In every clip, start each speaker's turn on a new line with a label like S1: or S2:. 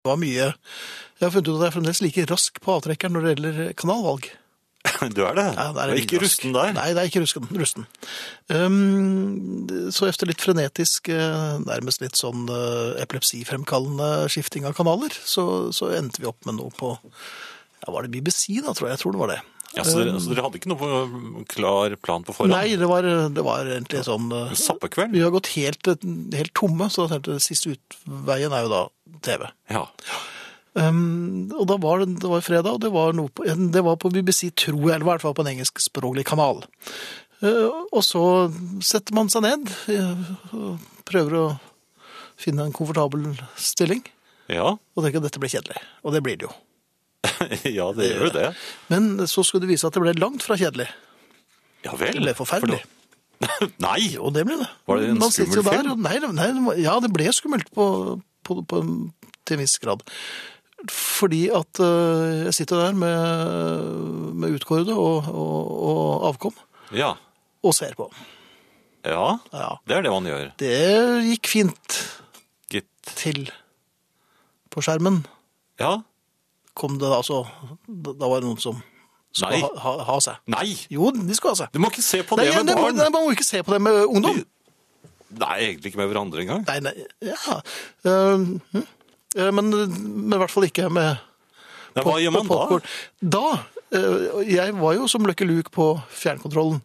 S1: Det var mye. Jeg har funnet ut at jeg er fremdeles like rask på avtrekkeren når det gjelder kanalvalg.
S2: Du er det.
S1: Ja, der er
S2: og
S1: jeg
S2: ikke
S1: rask.
S2: rusten der.
S1: Nei, det er ikke rusten. rusten. Ehm, så efter litt frenetisk, eh, nærmest litt sånn eh, epilepsifremkallende skifting av kanaler, så, så endte vi opp med noe på ja, Var det BBC, da, tror jeg? Jeg tror det var det.
S2: Ja, så, dere, så dere hadde ikke noe eh, klar plan på forhånd?
S1: Nei, det var, det var egentlig sånn eh,
S2: Sappekveld?
S1: Vi har gått helt, eh, helt tomme, så da tenkte jeg siste utveien er jo da TV.
S2: Ja.
S1: Ehm, og da var det, det var fredag, og det var, noe på, det var på BBC, tror jeg, eller i hvert fall på en engelskspråklig kanal. Eh, og så setter man seg ned, eh, og prøver å finne en komfortabel stilling,
S2: Ja.
S1: og tenker at dette blir kjedelig. Og det blir det jo.
S2: ja, det gjør jo det.
S1: Men så skulle det vise at det ble langt fra kjedelig.
S2: Ja vel.
S1: Det ble forferdelig.
S2: For da- Nei!
S1: Jo, det ble det.
S2: Var det en
S1: Man sitter jo
S2: skummel
S1: der,
S2: film?
S1: og Nei, nei, det var- ja, det ble skummelt på, på, på, en- til en viss grad. Fordi at øh, jeg sitter der med, med utkårede og, og, og avkom
S2: Ja.
S1: og ser på.
S2: ja.
S1: Ja,
S2: Det er det man gjør.
S1: det gikk fint
S2: Gitt.
S1: til på skjermen.
S2: Ja.
S1: Kom det altså Da da var det noen som skulle
S2: Nei.
S1: ha, ha, ha seg.
S2: Nei!
S1: Jo, de skulle ha seg.
S2: Du må ikke se på
S1: Nei,
S2: det med
S1: det må-
S2: barn!
S1: nei, man må ikke se på det med ungdom.
S2: Nei, egentlig ikke med hverandre engang.
S1: Nei, nei, ja. Eh, hm. Eh, men, men i hvert fall ikke med
S2: Nei, hva gjør man da?
S1: popcorn. Da, eh, jeg var jo som Lucky Luke på fjernkontrollen.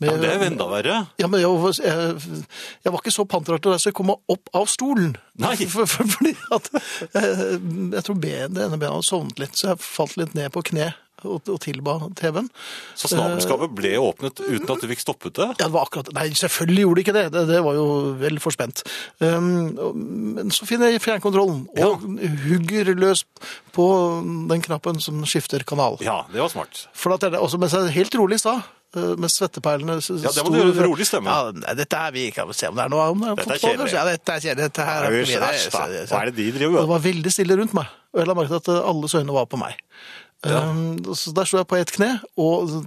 S1: med-
S2: Ja, men det er jo enda verre.
S1: Ja, men jeg, var- jeg, jeg var ikke så panterart til deg, så jeg kom meg opp av stolen.
S2: Nei.
S1: For, for, fordi at eh, jeg tror ben, det ene benet hadde sovnet litt, så jeg falt litt ned på kne og, og tilba TV-en. Eh.
S2: Så snabelskapet ble åpnet uten at du fikk stoppet det?
S1: Ja, det var akkurat Nei, selvfølgelig gjorde det ikke det. Det, det var jo vel for spent. Um, og- men så finner jeg fjernkontrollen og hugger løs på den knappen som skifter kanal.
S2: Ja, det var smart.
S1: For at det, også mens jeg helt rolig sa, uh, med svetteperlene
S2: Ja, det må du gjøre for rolig stemme.
S1: Ja, nei, dette er vi kan se om det er noe om det
S2: Dette er
S1: fotball,
S2: kjedelig.
S1: kanskje. Ja, dette er kjedelig. Dette her
S2: Det er jo
S1: ikke
S2: slash, da.
S1: det-
S2: Hva er det de
S1: Og
S2: driver
S1: det
S2: med?
S1: var veldig stille rundt meg. Og jeg la merke til at uh, alles øyne var på meg. Um, så der sto jeg på ett kne, og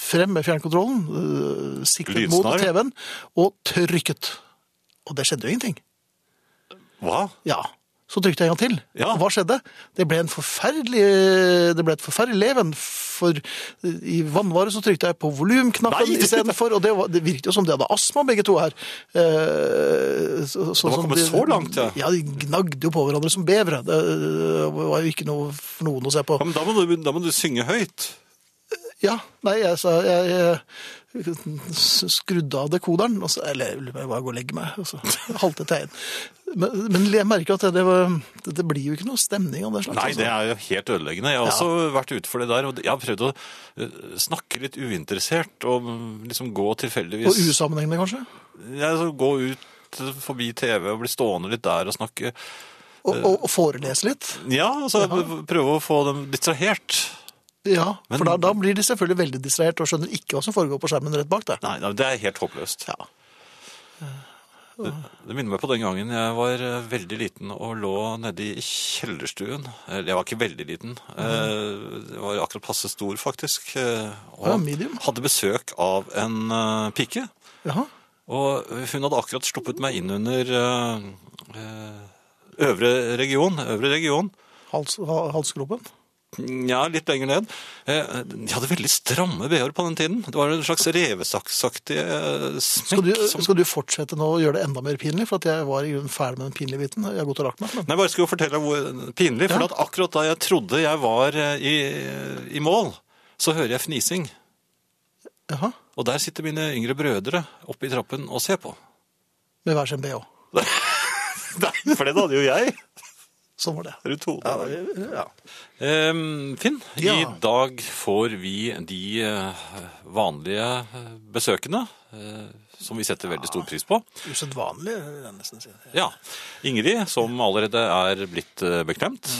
S1: frem med fjernkontrollen, uh, siktet mot
S2: Lynsnar.
S1: TV-en, og trykket. Og det skjedde jo ingenting.
S2: Hva?
S1: Ja. Så trykte jeg en gang til.
S2: Ja.
S1: Og Hva skjedde? Det ble, en forferdelig, det ble et forferdelig leven, for eh, i vannvare så trykte jeg på volumknappen
S2: Nei!
S1: istedenfor, og det, var, det virket jo som de hadde astma, begge to her. Eh, så, så,
S2: var
S1: som
S2: kommet
S1: de-
S2: så langt, ja.
S1: Ja, de gnagde jo på hverandre som bevere. Det var jo ikke noe for noen å se på.
S2: Ja, men da må, du, da må du synge høyt.
S1: Ja, nei, jeg sa jeg, jeg s- skrudde av dekoderen, og så, eller jeg ville bare gå og legge meg, og så haltet jeg inn. Men, men jeg merker at det, var- det, det blir jo ikke noe stemning av det slags.
S2: Nei,
S1: altså.
S2: det er jo helt ødeleggende. Jeg har også vært ute for det der, og jeg har prøvd å eh, snakke litt uinteressert og mm, liksom gå tilfeldigvis
S1: Og usammenhengende, kanskje?
S2: Ja, så gå ut eh, forbi TV og bli stående litt der og snakke. Eh.
S1: Og, og, og forelese litt?
S2: Ja, altså prøve å få dem distrahert.
S1: Ja,
S2: Men-
S1: for da, da blir de selvfølgelig veldig distrahert og skjønner ikke hva som foregår på skjermen rett bak deg.
S2: Nei, nei, det er helt håpløst.
S1: Ja.
S2: Det minner meg på den gangen jeg var eh, veldig liten og lå nede i kjellerstuen. Eller jeg var ikke veldig liten. Eh, Jeg var akkurat passe stor, faktisk. eh, Og
S1: Ja, medium.
S2: hadde besøk av en eh, pike.
S1: Jaha.
S2: Og hun hadde akkurat sluppet meg inn under eh, eh, øvre region. Øvre region.
S1: Hals, ha- halsgropen?
S2: Ja, litt lenger ned. Eh, De hadde veldig stramme BH-er på den tiden. Det var en slags revesaksaktig eh,
S1: Skal du,
S2: smekk. som-
S1: skal du fortsette nå å gjøre det enda mer pinlig? For at jeg var i grunnen ferdig med den pinlige biten. Jeg har gått og lagt meg. Men...
S2: Nei, jeg bare skulle fortelle deg hvor pinlig, for
S1: Ja.
S2: at akkurat da jeg trodde jeg var eh, i, i mål, så hører jeg fnising.
S1: Jaha.
S2: Og der sitter mine yngre brødre oppe i trappen og ser på.
S1: Med hver sin BH.
S2: Nei, for det hadde jo jeg.
S1: Sånn var det.
S2: Rundt hodet.
S1: Ja.
S2: Ehm, Finn,
S1: Ja.
S2: i dag får vi de eh, vanlige eh, besøkene, eh, som vi setter veldig stor pris på.
S1: Usedvanlig, vil jeg nesten si.
S2: Ja, Ingrid, som allerede er blitt eh, beklemt.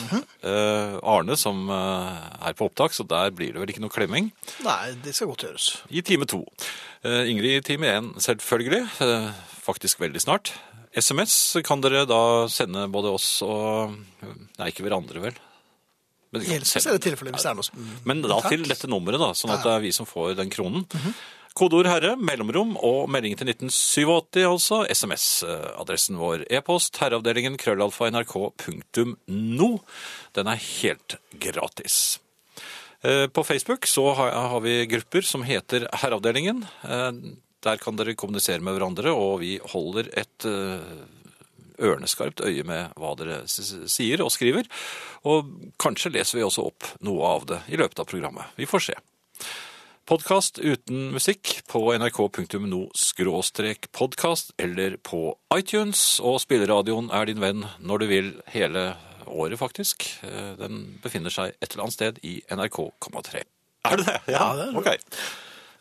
S2: Eh, Arne, som eh, er på opptak, så der blir det vel ikke noe klemming.
S1: Nei, det skal godt gjøres.
S2: i time to. Eh, Ingrid i time én, selvfølgelig. Eh, faktisk veldig snart. SMS kan dere da sende både oss og Nei, ikke hverandre, vel. Men,
S1: I helst er det tilfellet hvis det er noe som Mm.
S2: Men da til dette nummeret, da, sånn at det er vi som får den kronen. Kodeord 'herre', mellomrom og melding til 1987, altså. SMS-adressen vår. E-post herreavdelingen krøllalfa nrk.no. Den er helt gratis. Eh, På Facebook så har har vi grupper som heter Herreavdelingen. Eh, Der kan dere kommunisere med hverandre, og vi holder et eh, ørneskarpt øye med hva dere s- s- sier og skriver. Og kanskje leser vi også opp noe av det i løpet av programmet. Vi får se. Podkast uten musikk på nrk.no-podkast eller på iTunes. Og spilleradioen er din venn når du vil hele året, faktisk. Eh, Den befinner seg et eller annet sted i NRK,3. Er det det? Ja,
S1: det er det.
S2: ok.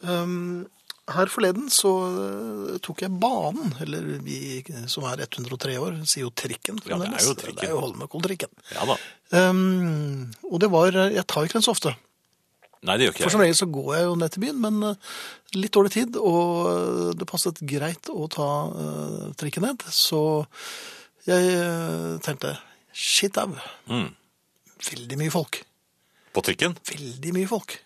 S1: Um, her forleden så eh, tok jeg banen, eller vi som er 103 år, sier jo trikken.
S2: Ja, det er jo
S1: fremdeles.
S2: trikken.
S1: Det er jo Holmenkolltrikken.
S2: Ja da.
S1: Um, og det var Jeg tar ikke den så ofte.
S2: Nei, det gjør
S1: For
S2: ikke
S1: som
S2: jeg.
S1: regel så går jeg jo ned til byen, men eh, litt dårlig tid, og eh, det passet greit å ta eh, trikken ned. Så jeg eh, tenkte shit au.
S2: Mm.
S1: Veldig mye folk.
S2: På trikken.
S1: Veldig mye folk.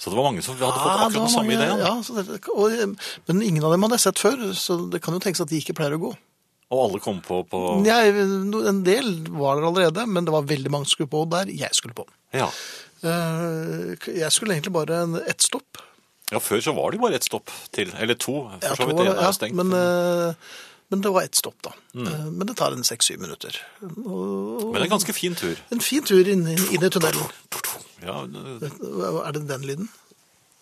S2: Så det var mange som hadde fått
S1: Ja,
S2: akkurat
S1: Ah, det var
S2: den samme
S1: mange-
S2: ideen.
S1: Ja, så det, og, eh, men ingen av dem hadde jeg sett før, så det kan jo tenkes at de ikke pleier å gå.
S2: Og alle kom på på
S1: Jeg, no- en del var der allerede, men det var veldig mange som skulle på der jeg skulle på.
S2: Ja.
S1: Eh, Jeg skulle egentlig bare en- ett stopp.
S2: ja, før så var det jo bare ett stopp til. Eller to,
S1: Jeg
S2: for så
S1: tror
S2: vidt.
S1: det,
S2: En er
S1: ja,
S2: jo stengt.
S1: men,
S2: men, Mm.
S1: eh, men det var ett stopp, da. Eh, Men det tar en seks-syv minutter. Og-
S2: en ganske fin tur.
S1: En fin tur inn, inn i tunnelen.
S2: Ja,
S1: Er det den lyden?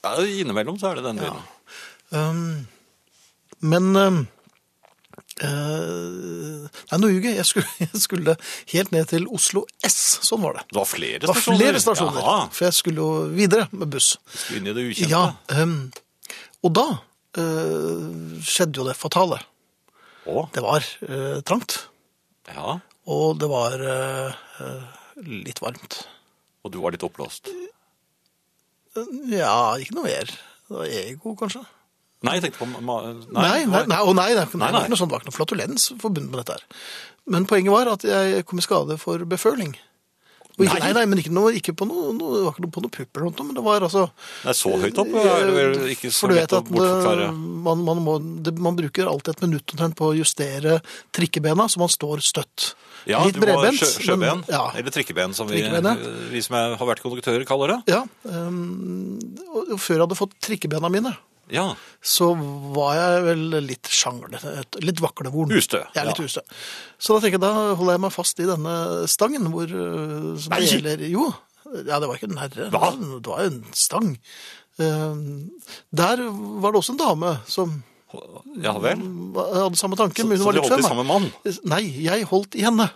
S2: ja, innimellom så er det den lyden.
S1: Um, men um, eh, Nei, nå ljuger jeg. Jeg skulle, jeg skulle helt ned til Oslo S. Sånn var det.
S2: Det var flere
S1: Det var
S2: stasjoner.
S1: flere stasjoner,
S2: Jaha,
S1: for jeg skulle jo videre med buss.
S2: skulle inn i det ukjente.
S1: Ja, um, og da eh, skjedde jo det fatale.
S2: Å,
S1: Det var eh, trangt,
S2: ja.
S1: og det var eh, eh, litt varmt.
S2: Og du var litt oppblåst.
S1: Eh, Ja, ikke noe mer. Det var ego, kanskje.
S2: Nei, jeg tenkte på ma Nei,
S1: Nei, nei, nei, å nei, det er ikke- det var
S2: Nei, nei.
S1: ikke noe sånt, det var ikke noe flatulens forbundet med dette her. Men poenget var at jeg kom i skade for beføling. Og ikke,
S2: Nei.
S1: nei, nei, men ikke, noe, ikke på noe, noe, det var ikke noe på noe pupper eller noe, men det var altså...
S2: Nei, så høyt opp er det vel ikke så
S1: Eh, For du
S2: lett
S1: vet
S2: å
S1: at
S2: bortforklare.
S1: det- man, man, må, det, man bruker alltid et minutt omtrent på å justere trikkebena, så man står støtt.
S2: Ja,
S1: eh, Litt
S2: du må ha
S1: bredbent.
S2: sjø, sjøben,
S1: men- ja,
S2: eller trikkeben, som vi,
S1: Trikkeben,
S2: vi som er, har vært konduktører, kaller det.
S1: ja ehm, og og før jeg hadde fått trikkebena mine,
S2: Ja,
S1: så var jeg vel litt sjanglete, et- litt vaklevorn.
S2: Ustø,
S1: Jeg er litt
S2: ja.
S1: ustø. Så da tenker jeg, da holder jeg meg fast i denne stangen hvor eh, som
S2: Nei!
S1: gjelder Jo. Ja, det var ikke den herre.
S2: Hva?
S1: Det var en stang. Ehm, der var det også en dame som
S2: ja vel.
S1: hadde samme tanke, men hun
S2: Så
S1: var
S2: de
S1: litt
S2: holdt i
S1: frem.
S2: samme mann.
S1: da. Nei, jeg holdt i henne.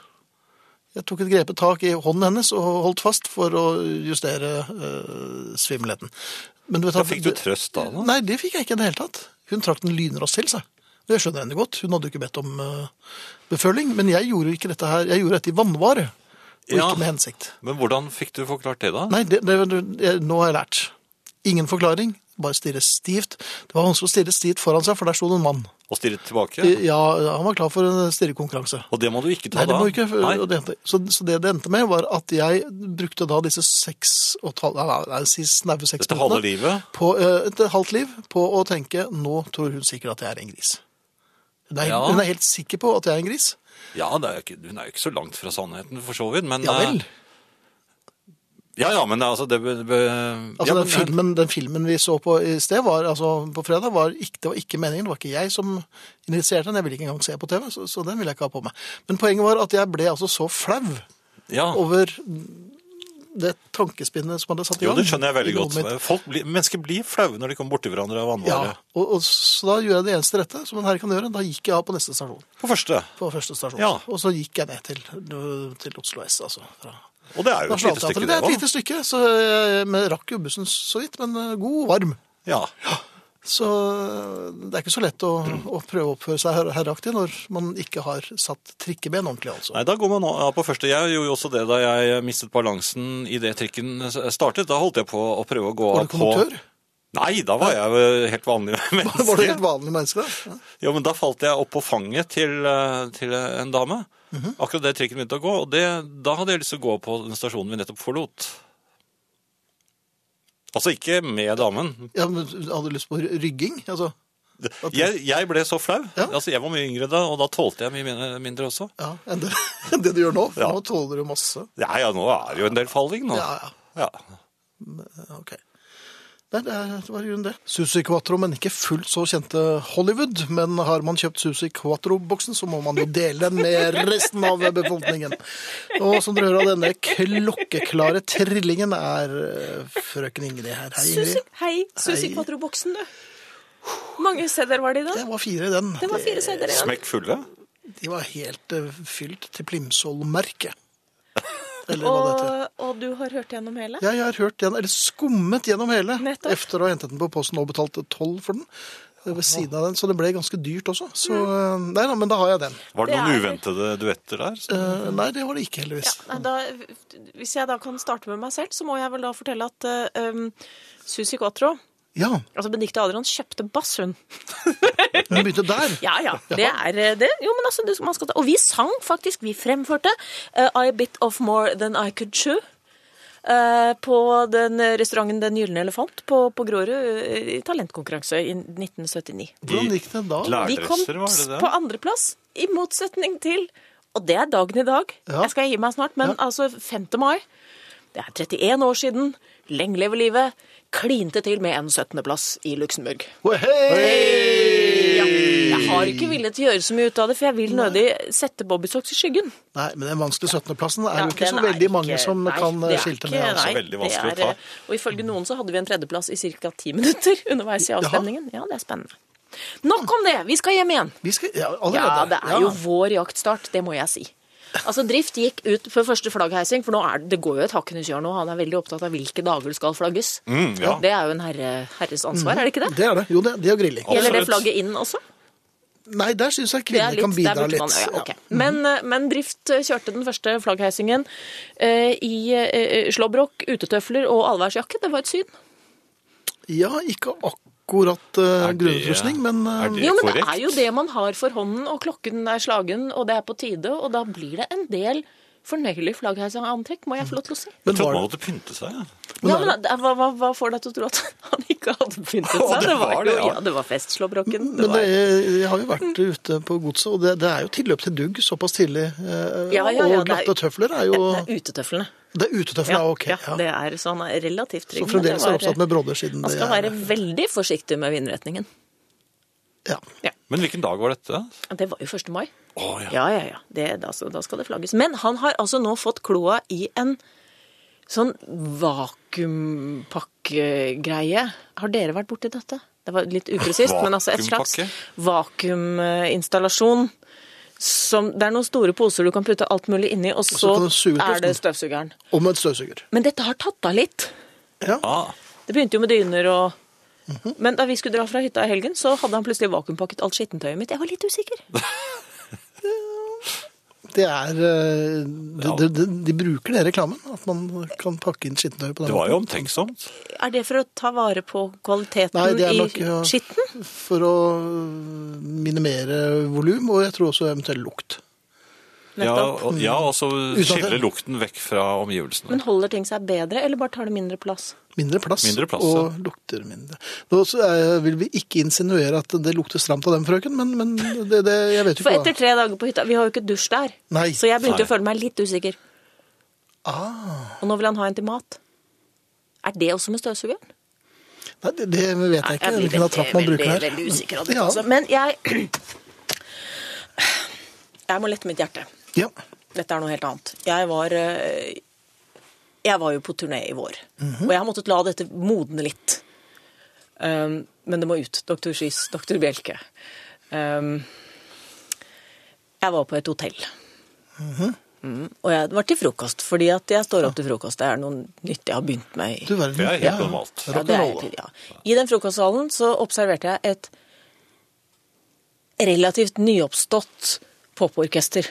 S1: Jeg tok et grepet tak i hånden hennes og holdt fast for å justere øh, svimmelheten. Men du vet
S2: Da
S1: at-
S2: fikk du trøst da, da?
S1: Nei, det fikk jeg ikke i det hele tatt. Hun trakk den lynraskt til seg. Og jeg skjønner henne godt. Hun hadde jo ikke bedt om øh, beføling, men jeg gjorde ikke dette her. Jeg gjorde dette i vannvare, og
S2: Ja.
S1: ikke med hensikt.
S2: Men hvordan fikk du forklart det da?
S1: Nei, det, det, det, nå har jeg lært. Ingen forklaring, bare stirre stivt. Det var vanskelig å stirre stivt foran seg, for der sto det en mann.
S2: Og stirret tilbake?
S1: Ja, han var klar for en stirrekonkurranse.
S2: Og det må du ikke ta
S1: Nei, det
S2: da?
S1: må ikke, øh,
S2: Nei.
S1: og det endte- så, så det det endte med var at jeg brukte da disse seks og et halvt, nei, nei, nei, si snaue seks
S2: Dette halve
S1: minuttene
S2: livet?
S1: på eh, et halvt liv på å tenke nå tror hun sikkert at jeg er en gris. Hun er,
S2: Ja.
S1: hun er helt sikker på at jeg er en gris.
S2: Ja, det er jo ikke, hun er jo ikke så langt fra sannheten, for så vidt, men
S1: Ja vel.
S2: eh, Ja, ja, men altså det be, be,
S1: Altså,
S2: ja, men-
S1: den, filmen, den filmen vi så på i sted, var, altså, på fredag, var ikke, det var ikke meningen. Det var ikke jeg som initierte den. Jeg ville ikke engang se på TV, så, så den ville jeg ikke ha på meg. Men poenget var at jeg ble altså så flau
S2: eh, ja.
S1: over det tankespinnet som hadde satt i
S2: Jo,
S1: gang.
S2: det skjønner jeg veldig
S1: i hodet
S2: godt.
S1: mitt.
S2: Folk blir, mennesker blir flaue når de kommer borti hverandre av
S1: Ja,
S2: vannvare.
S1: og, og Så da gjorde jeg det eneste rette som en herre kan gjøre. Da gikk jeg av på neste stasjon.
S2: På første.
S1: På første stasjon.
S2: Ja.
S1: Og så gikk jeg ned til, til Oslo S, altså. Fra
S2: Og det er jo et lite stykke,
S1: Nationaltheatret. Det er et
S2: det òg.
S1: lite stykke, så jeg men jeg rakk jo bussen så vidt, men eh, god og varm.
S2: Ja.
S1: Så eh, det er ikke så lett å, å prøve å oppføre seg her- herreaktig når man ikke har satt trikkeben ordentlig, altså.
S2: Nei, da går man av på første. Jeg gjorde jo også det da jeg mistet balansen idet trikken startet. Da holdt jeg på å prøve å gå
S1: Var
S2: av
S1: du
S2: på
S1: konduktør?
S2: Nei, da var jeg jo helt vanlig menneske.
S1: Var du helt vanlig menneske da?
S2: Jo, men da falt jeg opp på fanget til, eh, til en dame.
S1: Mhm.
S2: Akkurat det trikken begynte å gå, og det, da hadde jeg lyst til å gå på den stasjonen vi nettopp forlot. Altså ikke med damen.
S1: Ja, men hadde du lyst på rygging? Altså, At-
S2: Jeg, jeg ble så flau.
S1: Ja.
S2: Altså, jeg var mye yngre da, og da tålte jeg mye min- mindre også.
S1: ja, enn det, enn det du gjør nå? For
S2: Ja.
S1: nå tåler du masse.
S2: Ja, ja, nå er det jo en del falling nå.
S1: Ja, ja.
S2: Ja.
S1: Ok. Nei, det er- det var i grunnen det. Susi Quattro, men ikke fullt så kjente Hollywood. Men har man kjøpt Susi Quattro-boksen, så må man jo dele den med resten av befolkningen. Og som dere hører av denne klokkeklare trillingen, er eh, frøken Ingrid her. Hei,
S3: Susi,
S1: Ingrid.
S3: hei, Susi
S1: Hei.
S3: Quattro-boksen, du. mange sedder var det i
S1: Det
S3: dag?
S1: var fire i den.
S3: Det var fire sedder igjen.
S2: Smekk fulle.
S1: De var helt eh, fylt til Plimsoll-merket. Eller hva det heter.
S3: Og, og du har hørt gjennom hele?
S1: Ja, jeg har hørt den, eller skummet gjennom hele.
S3: Nettopp.
S1: Efter å ha hentet den på posten og betalt 12 for den. eh, Ved siden av den, så det ble ganske dyrt også. Så
S3: Mm.
S1: eh, nei da, men da har jeg den.
S2: Var det
S3: Det
S2: noen
S3: er-
S2: uventede duetter der?
S1: Eh, nei, det var det ikke, heldigvis.
S3: Nei, Da, hvis jeg da kan starte med meg selv, så må jeg vel da fortelle at eh, um, Susi Quattro,
S1: Ja,
S3: altså Benedicte Adrian, kjøpte bass, hun.
S1: vi begynte der.
S3: Ja, ja. Det er eh, det. Jo, men altså, det, man skal ta Og vi sang faktisk, vi fremførte eh, I Bit Of More Than I Could Chew. eh, på den restauranten Den gylne elefant på, på Grorud eh, i talentkonkurranse i 1979.
S1: Hvordan gikk det da?
S2: Lær-
S3: Vi kom
S2: Lærdresser, var det det?
S3: på andreplass, i motsetning til Og det er dagen i dag.
S1: Ja.
S3: Jeg skal gi meg snart, men altså 5. mai. Det er 31 år siden. Lenge leve livet. Klinte til med en 17.-plass i Luxembourg.
S1: Hei!
S3: Ja. Jeg har ikke villet gjøre så mye ut av det, for jeg vil nødig sette bobbysocks i skyggen.
S1: Nei, men den vanskelige 17.-plassen er
S3: Ja,
S1: jo ikke
S3: den
S1: så
S3: er
S1: veldig mange
S3: ikke-
S1: som
S3: nei,
S1: kan
S3: det er
S1: skilte
S3: ikke-
S1: med. Altså.
S3: nei,
S2: Veldig
S3: det
S2: vanskelig å
S3: er,
S2: ta.
S3: eh, Og ifølge noen så hadde vi en tredjeplass i ca. ti minutter underveis i avstemningen. Ja, det er spennende. Nok om det! Vi skal hjem igjen.
S1: Vi skal, ja,
S3: Ja,
S1: allerede.
S3: det er jo vår jaktstart, det må jeg si. Altså, Drift gikk ut for første flaggheising, for nå er det, det går jo et hakkenes hjørne, og han er veldig opptatt av hvilke dager det skal flagges.
S2: Mm, ja.
S3: Det er jo en herre, herres ansvar, er det ikke det?
S1: Det er det. Jo, det, det er grilling.
S3: Gjelder det
S2: Absolutt.
S3: flagget inn også?
S1: Nei, der syns jeg
S3: Det er
S1: kvinner kan
S3: litt- der
S1: bidra
S3: burde man-
S1: litt.
S3: ja, ok. men, eh, men Drift eh, kjørte den første flaggheisingen eh, i eh, slåbrok, utetøfler og allværsjakke. Det var et syn.
S1: Ja, ikke akkurat eh,
S2: Er det-
S1: grunnutrustning, men eh,
S2: er det-
S3: Jo, men det
S2: korrekt.
S3: er jo det man har for hånden, og klokken er slagen, og det er på tide, og da blir det en del fornøyelig flaggheisantrekk, må jeg få lov til å si.
S1: men
S2: Jeg trodde
S1: var
S2: man måtte pynte seg. Ja.
S3: Ja, men da- hva, hva, hva får deg til å tro at han ikke hadde pyntet seg?
S2: Å, det
S3: det var,
S2: var det,
S3: jo,
S2: ja.
S3: ja. det var festslåbroken. Det
S1: Men det,
S3: var, Mm.
S1: jeg har jo vært ute på godset, og det, det er jo tilløp til dugg såpass tidlig. eh,
S3: Ja, ja, ja,
S1: og
S3: det er-
S1: glatte tøfler er jo
S3: det er utetøflene.
S1: Det er utetøfler, ja, ok.
S3: ja,
S1: Ja.
S3: det er så han er relativt
S1: Så
S3: trygg. men
S1: fremdeles
S3: det
S1: er
S3: var-
S1: jeg opptatt med brodder siden
S3: Man
S1: det
S3: skal
S1: er-
S3: være veldig forsiktig med vindretningen.
S1: Ja.
S3: Ja.
S2: Men hvilken dag var dette?
S3: Det var jo 1. mai.
S2: Å, ja.
S3: Ja, ja, ja. Det, da, så, da skal det flagges. Men han har altså nå fått kloa i en sånn vakuumpakkegreie. Har dere vært borti dette? Det var litt upresist, men altså et slags vakuuminstallasjon. Som, det er noen store poser du kan putte alt mulig inni, og så,
S1: kan du suge ut
S3: er det
S1: luften.
S3: støvsugeren.
S1: Og med en støvsuger.
S3: Men dette har tatt av litt.
S1: Ja.
S2: Ah,
S3: Det begynte jo med dyner og Men da vi skulle dra fra hytta i helgen, så hadde han plutselig vakuumpakket alt skittentøyet mitt. Jeg var litt usikker.
S1: Det er eh, de, de, de, de bruker det i reklamen, at man kan pakke inn skittentøy på den
S2: det var jo omtenksomt.
S3: Er det for å ta vare på kvaliteten
S1: Nei, det er
S3: i
S1: nok, ja.
S3: skitten?
S1: For å minimere volum, og jeg tror også eventuell lukt.
S2: Ja,
S3: Nettopp.
S2: og, ja, og så
S1: det-
S2: skille lukten vekk fra omgivelsene.
S3: Men holder ting seg bedre, eller bare tar det mindre plass?
S1: Mindre plass,
S2: Mindre plass,
S1: og lukter mindre. Nå så er- vil vi ikke insinuere at det lukter stramt av den frøken, men, men det, det, jeg vet jo
S3: For
S1: ikke
S3: etter
S1: hva.
S3: tre dager på hytta Vi har jo ikke dusj der.
S1: Nei.
S3: Så jeg begynte
S2: Nei.
S3: å føle meg litt usikker.
S1: Ah,
S3: Og nå vil han ha en til mat. Er det også med støvsugeren?
S1: nei, det, det vet jeg ikke.
S3: blir
S1: Hvilken
S3: veldig-
S1: attrapp man bruker
S3: veldig,
S1: her.
S3: Veldig usikker av det,
S1: Ja.
S3: altså. Men jeg Jeg må lette mitt hjerte.
S1: Ja.
S3: Dette er noe helt annet. Jeg var eh, Jeg var jo på turné i vår.
S1: Mhm.
S3: Og jeg har måttet la dette modne litt. Um, men det må ut. Doktor Skys, doktor Bjelke. Um, jeg var på et hotell.
S1: Mhm.
S3: Mm, og jeg det var til frokost, fordi at jeg står opp til frokost. Det er noe nytt jeg har begynt med. i-
S1: Du verden.
S2: Det er helt
S1: Ja.
S2: normalt.
S3: ja, det er
S1: Rock'n'roll.
S3: egentlig- ja. I den frokostsalen så observerte jeg et relativt nyoppstått poporkester.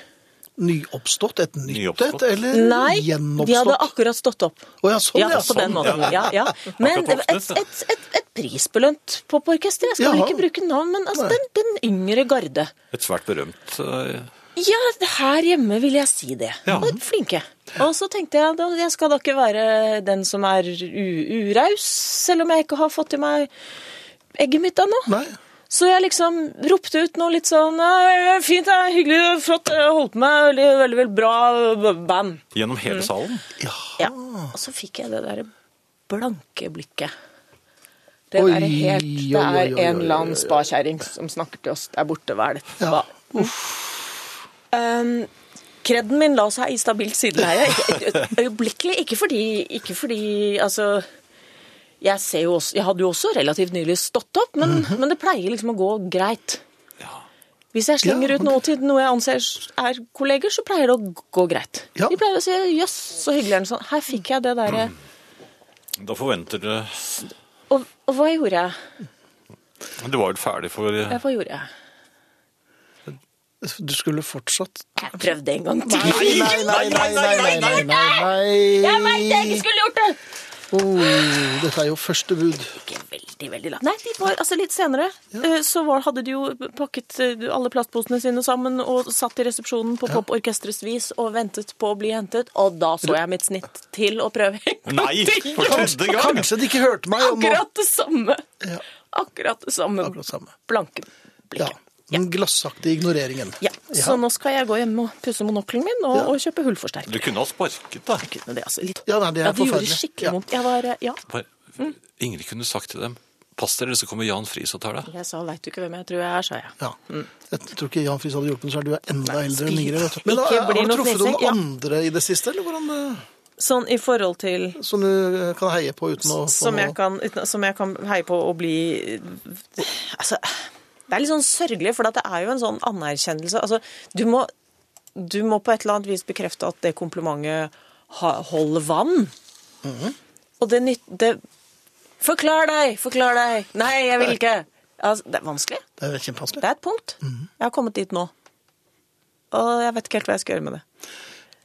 S1: Nyoppstått? Et nytt
S2: Nyoppstått.
S1: et, eller
S3: Nei, de hadde
S1: Eh, gjenoppstått?
S3: akkurat stått opp.
S1: Å ja, sånn,
S3: ja,
S1: ja,
S3: på den
S2: sånn,
S3: måten.
S2: ja.
S3: Ja, ja. Men
S2: Akkurat
S3: et,
S2: åpnet,
S3: et, et, et prisbelønt poporkester. Jeg skal vel
S1: Jaha.
S3: ikke bruke navn, men
S1: Nei.
S3: altså, den, den yngre garde.
S2: Et svært berømt eh,
S3: Ja, her hjemme vil jeg si det.
S2: Ja.
S3: Og flinke. Og så tenkte jeg da, jeg skal da ikke være den som er u uraus, selv om jeg ikke har fått i meg egget mitt ennå.
S1: sånn. Nei.
S3: Så jeg liksom ropte ut noe litt sånn «Nei, Fint, det er hyggelig, det er flott, jeg holdt på med veldig, veldig, veldig bra b- band.
S2: Gjennom
S3: Mm.
S2: hele salen.
S3: Ja. Og så fikk jeg det derre blanke blikket. Det
S1: Oi,
S3: der er helt Det
S1: oi, oi,
S3: er
S1: oi, oi,
S3: en
S1: oi,
S3: eller
S1: oi.
S3: annen spakjerring som snakker til oss der borte. Hva er dette?
S1: Ja.
S3: Hva? Um, Kredden min la seg i stabilt sideleie. Ikke- Øyeblikkelig. Ikke fordi, ikke fordi Altså jeg, ser jo også, jeg hadde jo også relativt nylig stått opp, men,
S1: Mhm.
S3: men det pleier liksom å gå greit.
S2: Ja.
S3: Hvis jeg slenger
S1: Ja,
S3: ut noe til noe jeg anser er kolleger, så pleier det å gå greit.
S1: Ja.
S3: De pleier å si 'jøss, så hyggelig' eller noe sånt. Her fikk jeg det derre
S2: Da forventer du
S3: og, og hva gjorde jeg?
S2: Du var vel ferdig for eh,
S3: Ja, Hva gjorde jeg?
S1: Du skulle fortsatt
S3: Jeg prøvde en gang til.
S1: Nei, nei, nei, nei, nei, nei, nei, nei,
S3: Jeg veit jeg ikke skulle gjort det!
S1: Oh, dette er jo første bud.
S3: Ikke veldig, veldig langt. Nei, de var, altså Litt senere eh, så var, hadde de jo pakket eh, alle plastposene sine sammen og satt i resepsjonen på poporkestrets vis og ventet på å bli hentet. Og da så jeg mitt snitt til å prøve en gang
S2: Nei!
S3: til.
S2: For tredje gang!
S1: Kanskje de ikke hørte meg. og nå-
S3: Akkurat det samme.
S1: Ja.
S3: Akkurat det samme
S1: Akkurat samme.
S3: blanke
S1: Ja.
S3: blikket.
S1: Den glassaktige ignoreringen.
S3: Ja, sånn. Så nå skal jeg gå hjem og pusse monokkelen min og, og kjøpe hullforsterker.
S2: Du kunne ha sparket, da.
S3: Men det er altså litt...
S1: Ja, nei, det er
S3: Ja, det gjorde
S1: forferdelig.
S3: skikkelig
S1: Ja.
S3: vondt. Jeg var, eh, ja,
S2: Bare- Ingrid kunne sagt til dem Pass dere, så kommer Jan Friis og tar deg.
S3: Jeg sa 'veit du ikke hvem jeg tror jeg er', sa jeg.
S1: Ja. Jeg tror ikke Jan Friis hadde hjulpet, så er du enda eldre enn
S3: sprit.
S1: Ingrid. Vet du. Men
S3: Mm. Ikke
S1: har- har
S3: bli
S1: du
S3: noe
S1: truffet noen
S3: fnising, ja.
S1: andre i det siste, eller hvordan eh,
S3: Sånn i forhold til
S1: som du eh, kan heie på uten å få
S3: som jeg, kan, uten- som jeg kan heie på å bli Altså, det er litt sånn sørgelig, for at det er jo en sånn anerkjennelse. Altså, du må, du må på et eller annet vis bekrefte at det komplimentet ha, holder vann.
S1: Mhm.
S3: Og det nytt... Det, forklar deg! Forklar deg! Nei, jeg vil ikke! Altså, det er vanskelig.
S1: Det er kjempevanskelig.
S3: Det er et punkt.
S1: Mhm.
S3: Jeg har kommet dit nå. Og jeg vet ikke helt hva jeg skal gjøre med det.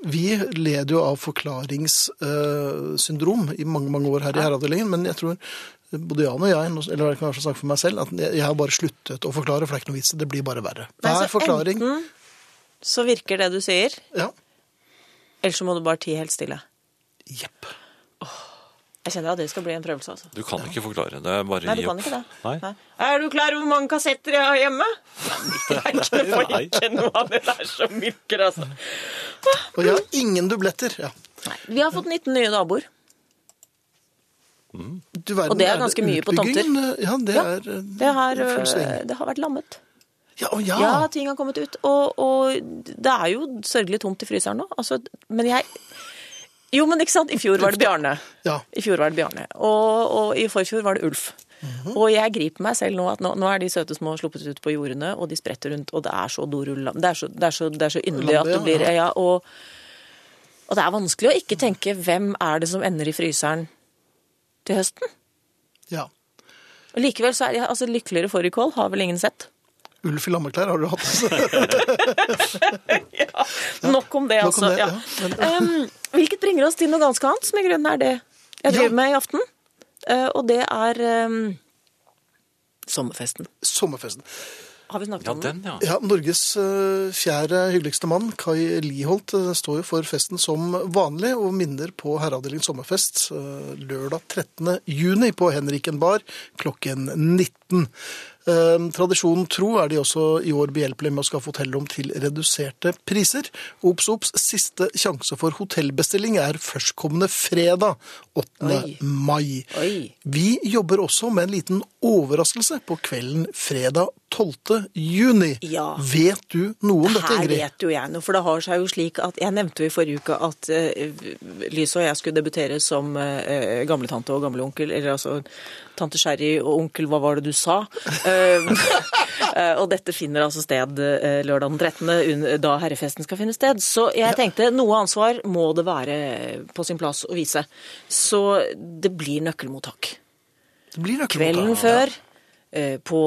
S1: Vi led jo av forklaringssyndrom eh, i mange mange år her i herreavdelingen, men jeg tror både Jan og jeg, eller jeg kan kanskje snakke for meg selv, at jeg jeg har bare sluttet å forklare, for det er ikke noe vits. Det blir bare verre.
S3: Nei, så
S1: Hver forklaring
S3: altså, Enten så virker det du sier,
S1: Ja.
S3: eller så må du bare tie helt stille.
S1: Jepp.
S3: Jeg kjenner at det skal bli en prøvelse, altså.
S2: Du kan ikke forklare. Det er bare
S3: Nei,
S2: å
S3: du
S2: gi
S3: kan
S2: opp.
S3: ikke det.
S2: Nei.
S3: Er du klar over hvor mange kassetter jeg har hjemme? Det er ikke noe for
S2: Nei.
S3: ikke noe av det der som virker, altså.
S1: Og jeg har ingen dubletter. Ja.
S3: Nei, vi har fått 19 nye naboer.
S1: Du verden,
S3: Og det er ganske mye på tomter.
S1: utbyggingen, eh, Ja, det
S3: Ja.
S1: er eh,
S3: Det har,
S1: i full sving.
S3: øh, det har vært lammet.
S1: Ja, og ja.
S3: Ja, ting har kommet ut. Og, og det er jo sørgelig tomt i fryseren nå. Altså, men jeg Jo, men ikke sant. I fjor var det Bjarne.
S1: Ja.
S3: I fjor var det Bjarne. Og, og i forfjor var det Ulf. Og jeg griper meg selv nå at nå, nå er de søte små sluppet ut på jordene, og de spretter rundt, og det er så dorull... Det er så, det er så, det er så inderlig at
S1: Lambe,
S3: det blir
S1: ja.
S3: Ja, og, og det er vanskelig å ikke tenke hvem er det som ender i fryseren til høsten?
S1: ja.
S3: Og likevel så er jeg altså lykkeligere fårikål, har vel ingen sett.
S1: Ulf i lammeklær har du hatt.
S3: Nok om det,
S1: Nok om
S3: altså.
S1: det,
S3: ja. Em, hvilket bringer oss til noe ganske annet, som i grunnen er det jeg driver
S1: Ja.
S3: med i aften. Eh, og det er em, sommerfesten.
S1: Sommerfesten.
S3: Har vi snakket
S2: Ja,
S3: om den?
S2: den, ja.
S1: Ja, Norges eh, fjerde hyggeligste mann, Kai Liholt, eh, står jo for festen som vanlig, og minner på Herreavdelingens sommerfest eh, lørdag 13. juni på Henriken bar klokken 19. Eh, Tradisjonen tro er de også i år behjelpelige med å skaffe hotellrom til reduserte priser. Ops, ops, siste sjanse for hotellbestilling er førstkommende fredag 8.
S3: Oi.
S1: mai.
S3: Oi.
S1: Vi jobber også med en liten overraskelse på kvelden fredag 12. juni.
S3: Ja.
S1: Vet du noe om dette,
S3: Her
S1: Ingrid?
S3: vet jo jeg noe, for det har seg jo slik at Jeg nevnte jo i forrige uke at uh, Lise og jeg skulle debutere som eh, gamletante og gamleonkel. Eller altså tante Sherry og onkel, hva var det du sa? Eh, eh, og dette finner altså sted eh, lørdag den 13., un- da herrefesten skal finne sted. Så jeg tenkte noe ansvar må det være på sin plass å vise. Så det blir nøkkelmottak.
S1: Det blir nøkkelmottak.
S3: Kvelden før. eh, på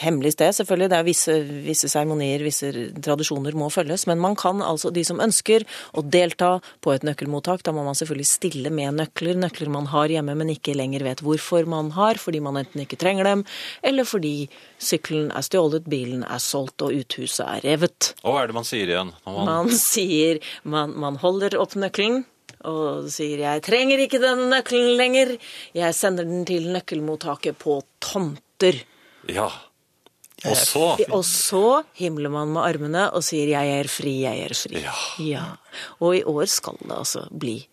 S3: hemmelig sted, selvfølgelig. Det er visse, visse seremonier, visse tradisjoner må følges. Men man kan altså, de som ønsker å delta på et nøkkelmottak, da må man selvfølgelig stille med nøkler. Nøkler man har hjemme, men ikke lenger vet hvorfor man har, fordi man enten ikke trenger dem, eller fordi sykkelen er stjålet, bilen er solgt og uthuset er revet.
S2: Og hva er det man sier igjen? Når man,
S3: Man sier man, man holder opp nøkkelen og sier 'jeg trenger ikke den nøkkelen lenger'. Jeg sender den til nøkkelmottaket på Tomter.
S2: Ja. Og så
S3: Og så himler man med armene og sier 'jeg er fri, jeg er fri'.
S2: Ja.
S3: Og i år skal det altså bli.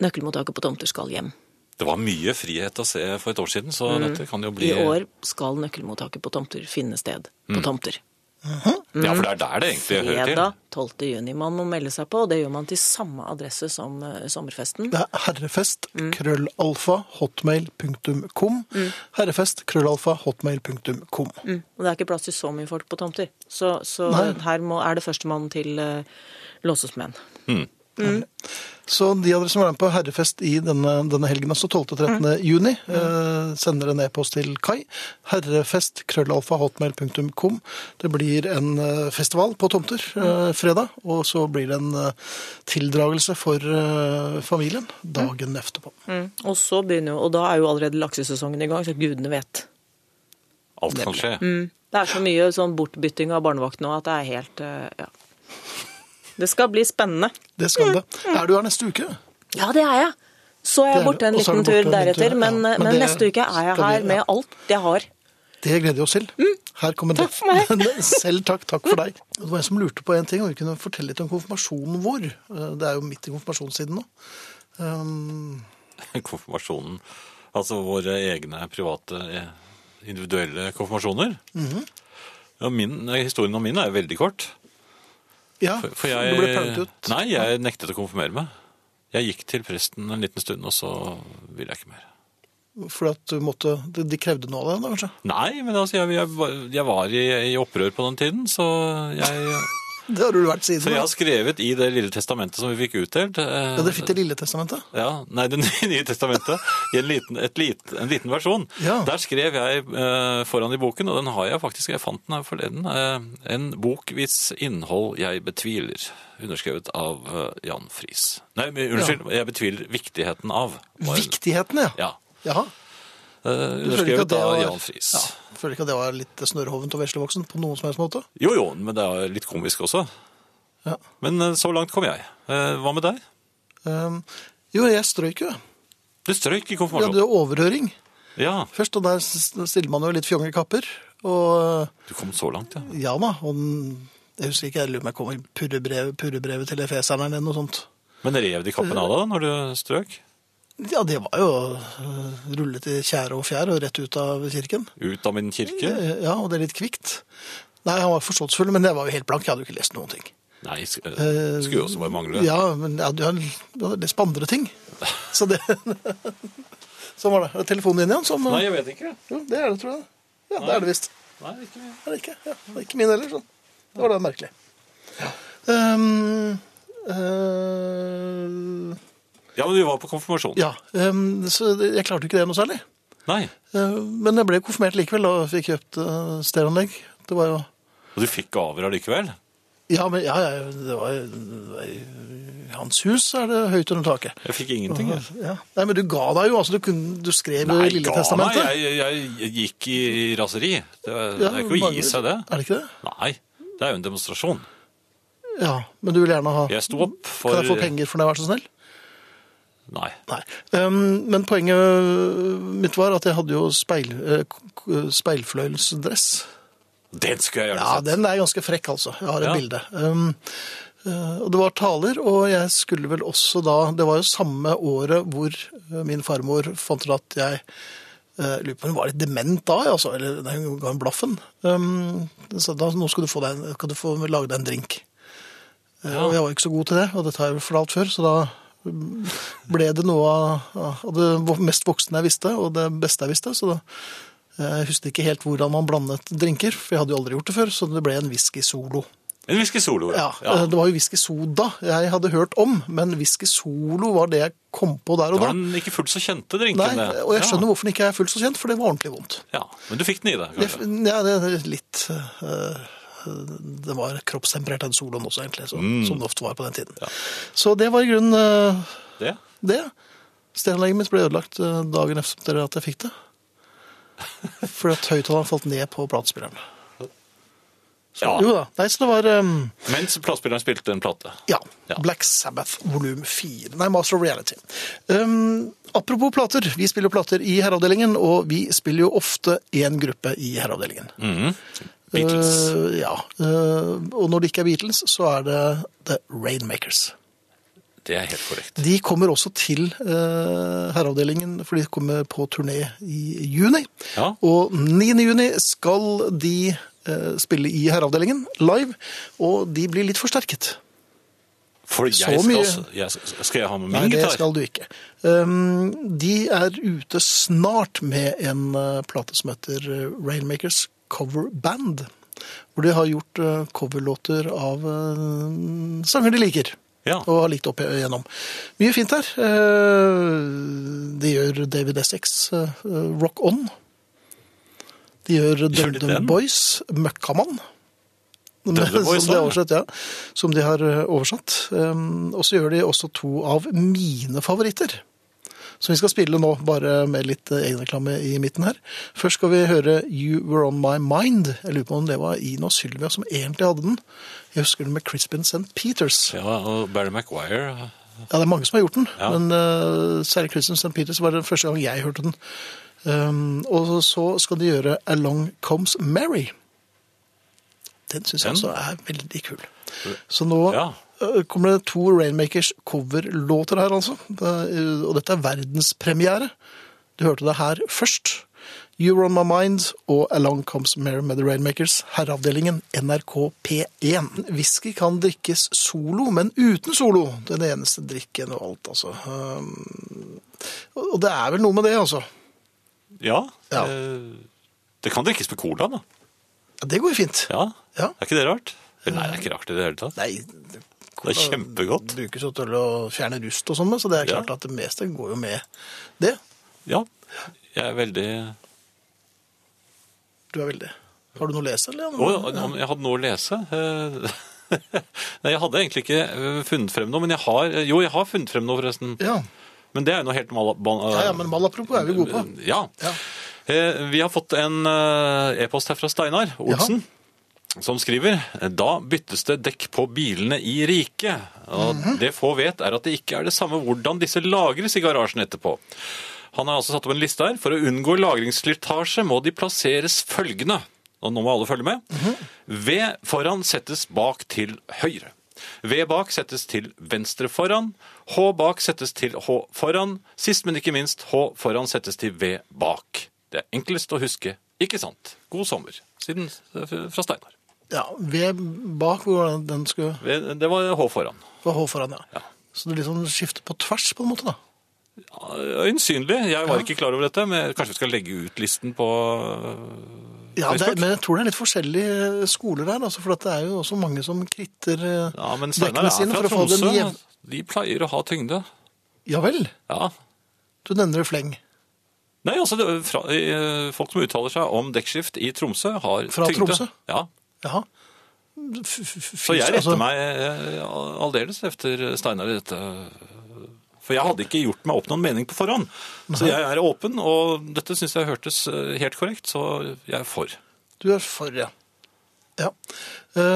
S3: Nøkkelmottaket på Tomter skal hjem.
S2: Det var mye frihet å se for et år siden, så
S1: Mm.
S2: dette kan jo bli
S3: I år skal nøkkelmottaket på Tomter finne sted på Tomter.
S2: Ja,
S1: Mm.
S2: for det er der Mm. det egentlig hører til.
S3: Fredag 12. juni. Man må melde seg på, og det gjør man til samme adresse som eh, sommerfesten.
S1: Det er herrefest,
S3: Mm.
S1: krøllalfa, hotmail.com. Herrefest, krøllalfa, hotmail.com.
S3: Mm. Og det er ikke plass til så mye folk på tomter. Så, så
S1: Nei.
S3: her må, er det førstemann til eh, låsesmenn.
S1: Så de av dere som er med på herrefest i denne, denne helgen, altså 12. og 13.
S3: Mm.
S1: juni, eh, sender en e-post til Kai. Herrefest, krøllalfa, hotmail.com. Det blir en eh, festival på tomter
S3: Mm.
S1: eh, fredag, og så blir det en eh, tildragelse for eh, familien
S3: Mm.
S1: dagen etterpå.
S3: Og så begynner jo, og da er jo allerede laksesesongen i gang, så gudene vet.
S2: Alt kan skje.
S3: Det er så mye sånn bortbytting av barnevakt nå at det er helt eh, ja. Det skal bli spennende.
S1: Det
S3: Mm.
S1: skal det. Er du her neste uke?
S3: Ja, det er jeg.
S1: Det
S3: Så er
S1: er
S3: jeg
S1: du.
S3: borte en
S1: Og så er du borte
S3: liten tur
S1: en liten tur,
S3: deretter,
S1: ja.
S3: men, eh,
S1: Men
S3: men,
S1: det
S3: neste uke er jeg
S1: skal vi-
S3: her med
S1: ja.
S3: alt jeg har.
S1: Det gleder vi oss til. Her kommer det.
S3: Mm. Takk for meg.
S1: Selv takk. Takk for deg. Det var en som lurte på en ting, og vi kunne fortelle litt om konfirmasjonen vår. Eh, Det er jo midt i konfirmasjonstiden nå. Um,
S2: Konfirmasjonen. Altså våre egne private, eh, individuelle konfirmasjoner.
S1: Mhm.
S2: ja, min, eh, historien om min er jo veldig kort.
S1: ja,
S2: For, for jeg,
S1: du ble pælmet ut.
S2: Nei, jeg nektet å konfirmere meg. Jeg gikk til presten en liten stund, og så ville jeg ikke mer.
S1: Fordi at du måtte, de, de krevde noe av deg da, kanskje?
S2: Nei, men altså, jeg, jeg, var- jeg var i, i opprør på den tiden, så jeg,
S1: Det har du vært
S2: så
S1: siden.
S2: jeg
S1: da.
S2: har skrevet i det lille testamentet som vi fikk utdelt. eh,
S1: Ja, Dere fikk Det Lille testamentet?
S2: Ja, nei, Det nye, nye testamentet, i en liten, et lit- en liten versjon.
S1: Ja.
S2: Der skrev jeg eh, foran i boken, og den har jeg faktisk, jeg fant den her forleden, eh, en bok hvis innhold jeg betviler, underskrevet av eh, Jan Friis. Nei, men unnskyld, jeg betviler viktigheten av. var-
S1: Viktigheten, ja.
S2: Ja,
S1: Jaha. Du føler ikke at
S2: eh, underskrevet
S1: det
S2: av
S1: var-
S2: Jan Friis.
S1: Ja, føler ikke at det var litt snørrhovent og veslevoksen på noen som helst måte?
S2: Jo, jo, men det er litt komisk også.
S1: Ja.
S2: Men eh, så langt kom jeg. Eh, Hva med deg?
S1: Um, jo, jeg strøyk jo.
S2: Du strøyk i
S1: Jeg
S2: konfirmasjonen.
S1: hadde jo overhøring
S2: Ja,
S1: først, og der s- stiller man jo litt fjonge kapper. Og
S2: du kom så langt, ja.
S1: Ja da, og den, jeg husker ikke, jeg lurer på om jeg kom i purrebrevet, purrebrevet til efeseren eller noe sånt.
S2: Men rev de kappen av deg da, når du strøk?
S1: Ja, det var jo øh, rullet i tjære og fjær og rett ut av kirken.
S2: Ut av min kirke?
S1: Eh, Ja, og det er litt kvikt. Nei, han var forståelsesfull, men jeg var jo helt blank, jeg hadde jo ikke lest noen ting.
S2: Nei, sk
S1: Eh,
S2: skulle jo også bare mangle.
S1: Ja, men jeg hadde, jeg hadde lest på andre ting. Så det... Sånn var det. Er det telefonen din igjen som...
S2: Nei, jeg vet ikke.
S1: Jo, det er det, tror jeg. Ja, det er det visst.
S2: Nei, ikke.
S1: Er det ikke? Ja, det er ikke min heller. Sånn. Det var da merkelig. Ehm, eh,
S2: Ja, men vi var på konfirmasjon.
S1: ja, ehm, så det- jeg klarte ikke det noe særlig.
S2: Nei,
S1: Eh, men jeg ble konfirmert likevel og fikk kjøpt uh, stereoanlegg. Det var jo
S2: og du fikk gaver allikevel.
S1: Ja, men ja, ja, det var, det var i hans hus er det høyt under taket.
S2: Jeg fikk ingenting. Jeg.
S1: Ja. Nei, men du ga deg jo, altså. Du, kunne, du skrev jo
S2: Nei,
S1: i Lille
S2: ga meg.
S1: Testamentet.
S2: Jeg, jeg, jeg gikk i raseri. Det, er- det er ikke å gi
S1: mange-
S2: seg det.
S1: Er det ikke det?
S2: Nei, det er jo en demonstrasjon.
S1: Ja, men du vil gjerne ha
S2: Jeg sto opp for
S1: Kan jeg få penger for det, vær så snill?
S2: Nei.
S1: Nei. Ehm, men poenget øh, mitt var at jeg hadde jo speil, eh, k- speilfløyelsdress.
S2: Den skulle jeg gjerne
S1: Ja,
S2: sett.
S1: den er ganske frekk, altså. Jeg har et
S2: Ja.
S1: bilde. Ehm, eh, og det var taler, og jeg skulle vel også da Det var jo samme året hvor eh, min farmor fant ut at jeg eh, lurer på om Hun var litt dement da, ja, altså. Eller nei, hun ga en blaffen. Ehm, så da, nå skal du få, deg, en- kan du få lage deg en drink. Eh, Og jeg var ikke så god til det, og dette har jeg vel fortalt før, så da ble det noe av av det mest voksne jeg visste, og det beste jeg visste. Så da, eh, jeg husket ikke helt hvordan man blandet drinker, for jeg hadde jo aldri gjort det før, så det ble en eh, whisky solo.
S2: En whisky solo.
S1: Ja, eh, Det var jo whisky soda jeg hadde hørt om, men whisky solo var det jeg kom på der og
S2: Da
S1: da.
S2: var den ikke fullt så kjente, drinken.
S1: Nei, og jeg skjønner hvorfor den ikke er fullt så kjent, for det var ordentlig vondt.
S2: Ja. ja, Men du fikk den i deg,
S1: Det,
S2: kanskje?
S1: ja, det er litt øh, Det var kroppstemperert enn soloen også, egentlig, så, som det ofte var på den tiden. Så det var i grunnen øh,
S2: Det?
S1: det. Stereoanlegget mitt ble ødelagt øh, dagen etter at jeg fikk det. Fordi at høyttaleren falt ned på platespilleren.
S2: Ja.
S1: Jo da. Nei, så det var øhm,
S2: Mens platespilleren spilte en plate.
S1: Ja.
S2: Ja.
S1: Black Sabbath volum 4. Nei, Master of Reality. Um, apropos plater. Vi spiller jo plater i herreavdelingen, og vi spiller jo ofte én gruppe i herreavdelingen.
S2: Mhm. Beatles.
S1: Uh, ja. Uh, og når det ikke er Beatles, så er det The Rainmakers.
S2: Det er helt korrekt.
S1: De kommer også til uh, herreavdelingen, for de kommer på turné i juni.
S2: Ja.
S1: Og 9. juni skal de eh, spille i herreavdelingen live, og de blir litt forsterket.
S2: For jeg
S1: Så
S2: skal,
S1: mye.
S2: også, jeg, skal jeg ha med
S1: Nei,
S2: min
S1: det
S2: gitar?
S1: skal du ikke. Um, de er ute snart med en eh, plate som heter eh, Rainmakers Cover Band. Hvor de har gjort eh, coverlåter av eh, sanger de liker.
S2: Ja.
S1: Og har likt opp igjennom. Mye fint her. Eh, de gjør David Essex, eh, Rock On. De gjør
S2: Gjør de den?
S1: Dundum Boys, Møkkamann.
S2: Dundum Boys,
S1: som de har
S2: ja.
S1: oversett, ja. Som de har eh, oversatt. Um, og så gjør de også to av mine favoritter. Som vi skal spille nå, bare med litt eh, egenreklame i midten her. Først skal vi høre You Were On My Mind. Jeg lurer på om det var Ina Sylvia som egentlig hadde den. Jeg husker den med Crispin St. Peters. Ja.
S2: Ja, og Barry Maguire eh,
S1: det er mange som har gjort den,
S2: Ja.
S1: men eh, særlig Crispin St. Peters var den første gang jeg hørte den. Um, og så skal de gjøre Along Comes Mary. Den syns jeg
S2: Den?
S1: også er veldig kul. Så nå
S2: Ja.
S1: eh, kommer det to Rainmakers coverlåter her, altså. Det er, eh, og dette er verdenspremiere. Du hørte det her først. You're On My Mind og Along Comes Mary med The Rainmakers. Herreavdelingen NRK P1. Whisky kan drikkes solo, men uten solo. Den eneste drikken og alt, altså. Um, Og det er vel noe med det, altså.
S2: Ja.
S1: Ja.
S2: eh, Det kan drikkes med cola, da.
S1: Ja, Det går jo fint.
S2: Ja.
S1: Ja.
S2: Er ikke det rart? Eller, Nei, det er ikke rart i det hele tatt.
S1: Nei,
S2: Det er kjempegodt.
S1: brukes jo til å fjerne rust og sånn, så det er klart
S2: Ja.
S1: at det meste går jo med det.
S2: Ja. Jeg er veldig
S1: Du er veldig Har du noe å lese, eller?
S2: Å, om jeg hadde noe å lese? Eh, Nei, jeg hadde egentlig ikke eh, funnet frem noe, men jeg har Jo, jeg har funnet frem noe, forresten.
S1: ja.
S2: Men det er jo noe helt mala... ban-
S1: ja, ja, men malapropos er vi gode på.
S2: Ja.
S1: Ja.
S2: Eh, Vi har fått en eh, e-post her fra Steinar Olsen. Som skriver da byttes det dekk på bilene i riket. Og Det få vet, er at det ikke er det samme hvordan disse lagres i garasjen etterpå. Han har altså satt opp en liste her. For å unngå lagringsslitasje må de plasseres følgende. Og nå må alle følge med. Ved foran settes bak til høyre. V bak settes til venstre foran. H bak settes til H foran. Sist, men ikke minst, H foran settes til V bak. Det er enklest å huske, ikke sant? God sommer. Siden eh, fra Steinar.
S1: Ja, ved bak hvor var det den skulle
S2: V- Det var H foran.
S1: På H foran, ja. Så du liksom skifter på tvers, på en måte, da.
S2: Øyensynlig. Jeg var ikke klar over dette, men kanskje vi skal legge ut listen på
S1: Ja, det er,
S2: Facebook?
S1: men jeg tror det er litt forskjellige skoler her, altså, for at det er jo også mange som kritter eh,
S2: Ja, men Steinar
S1: dekkene
S2: er fra
S1: for å få dem
S2: Tromsø.
S1: jevn-
S2: De pleier å ha tyngde.
S1: Ja vel,
S2: Ja.
S1: du nevner i fleng.
S2: Nei, altså, det, er fra, eh, folk som uttaler seg om dekkskift i Tromsø, har
S1: Fra
S2: tyngde.
S1: Tromsø?
S2: Ja.
S1: Jaha. Så
S2: Så jeg
S1: altså.
S2: retter meg eh, aldeles efter Steinar i dette. For jeg hadde ikke gjort meg opp noen mening på forhånd. Så jeg er åpen, og dette syns jeg hørtes eh, helt korrekt, så jeg er for.
S1: Du er for, ja. Ja.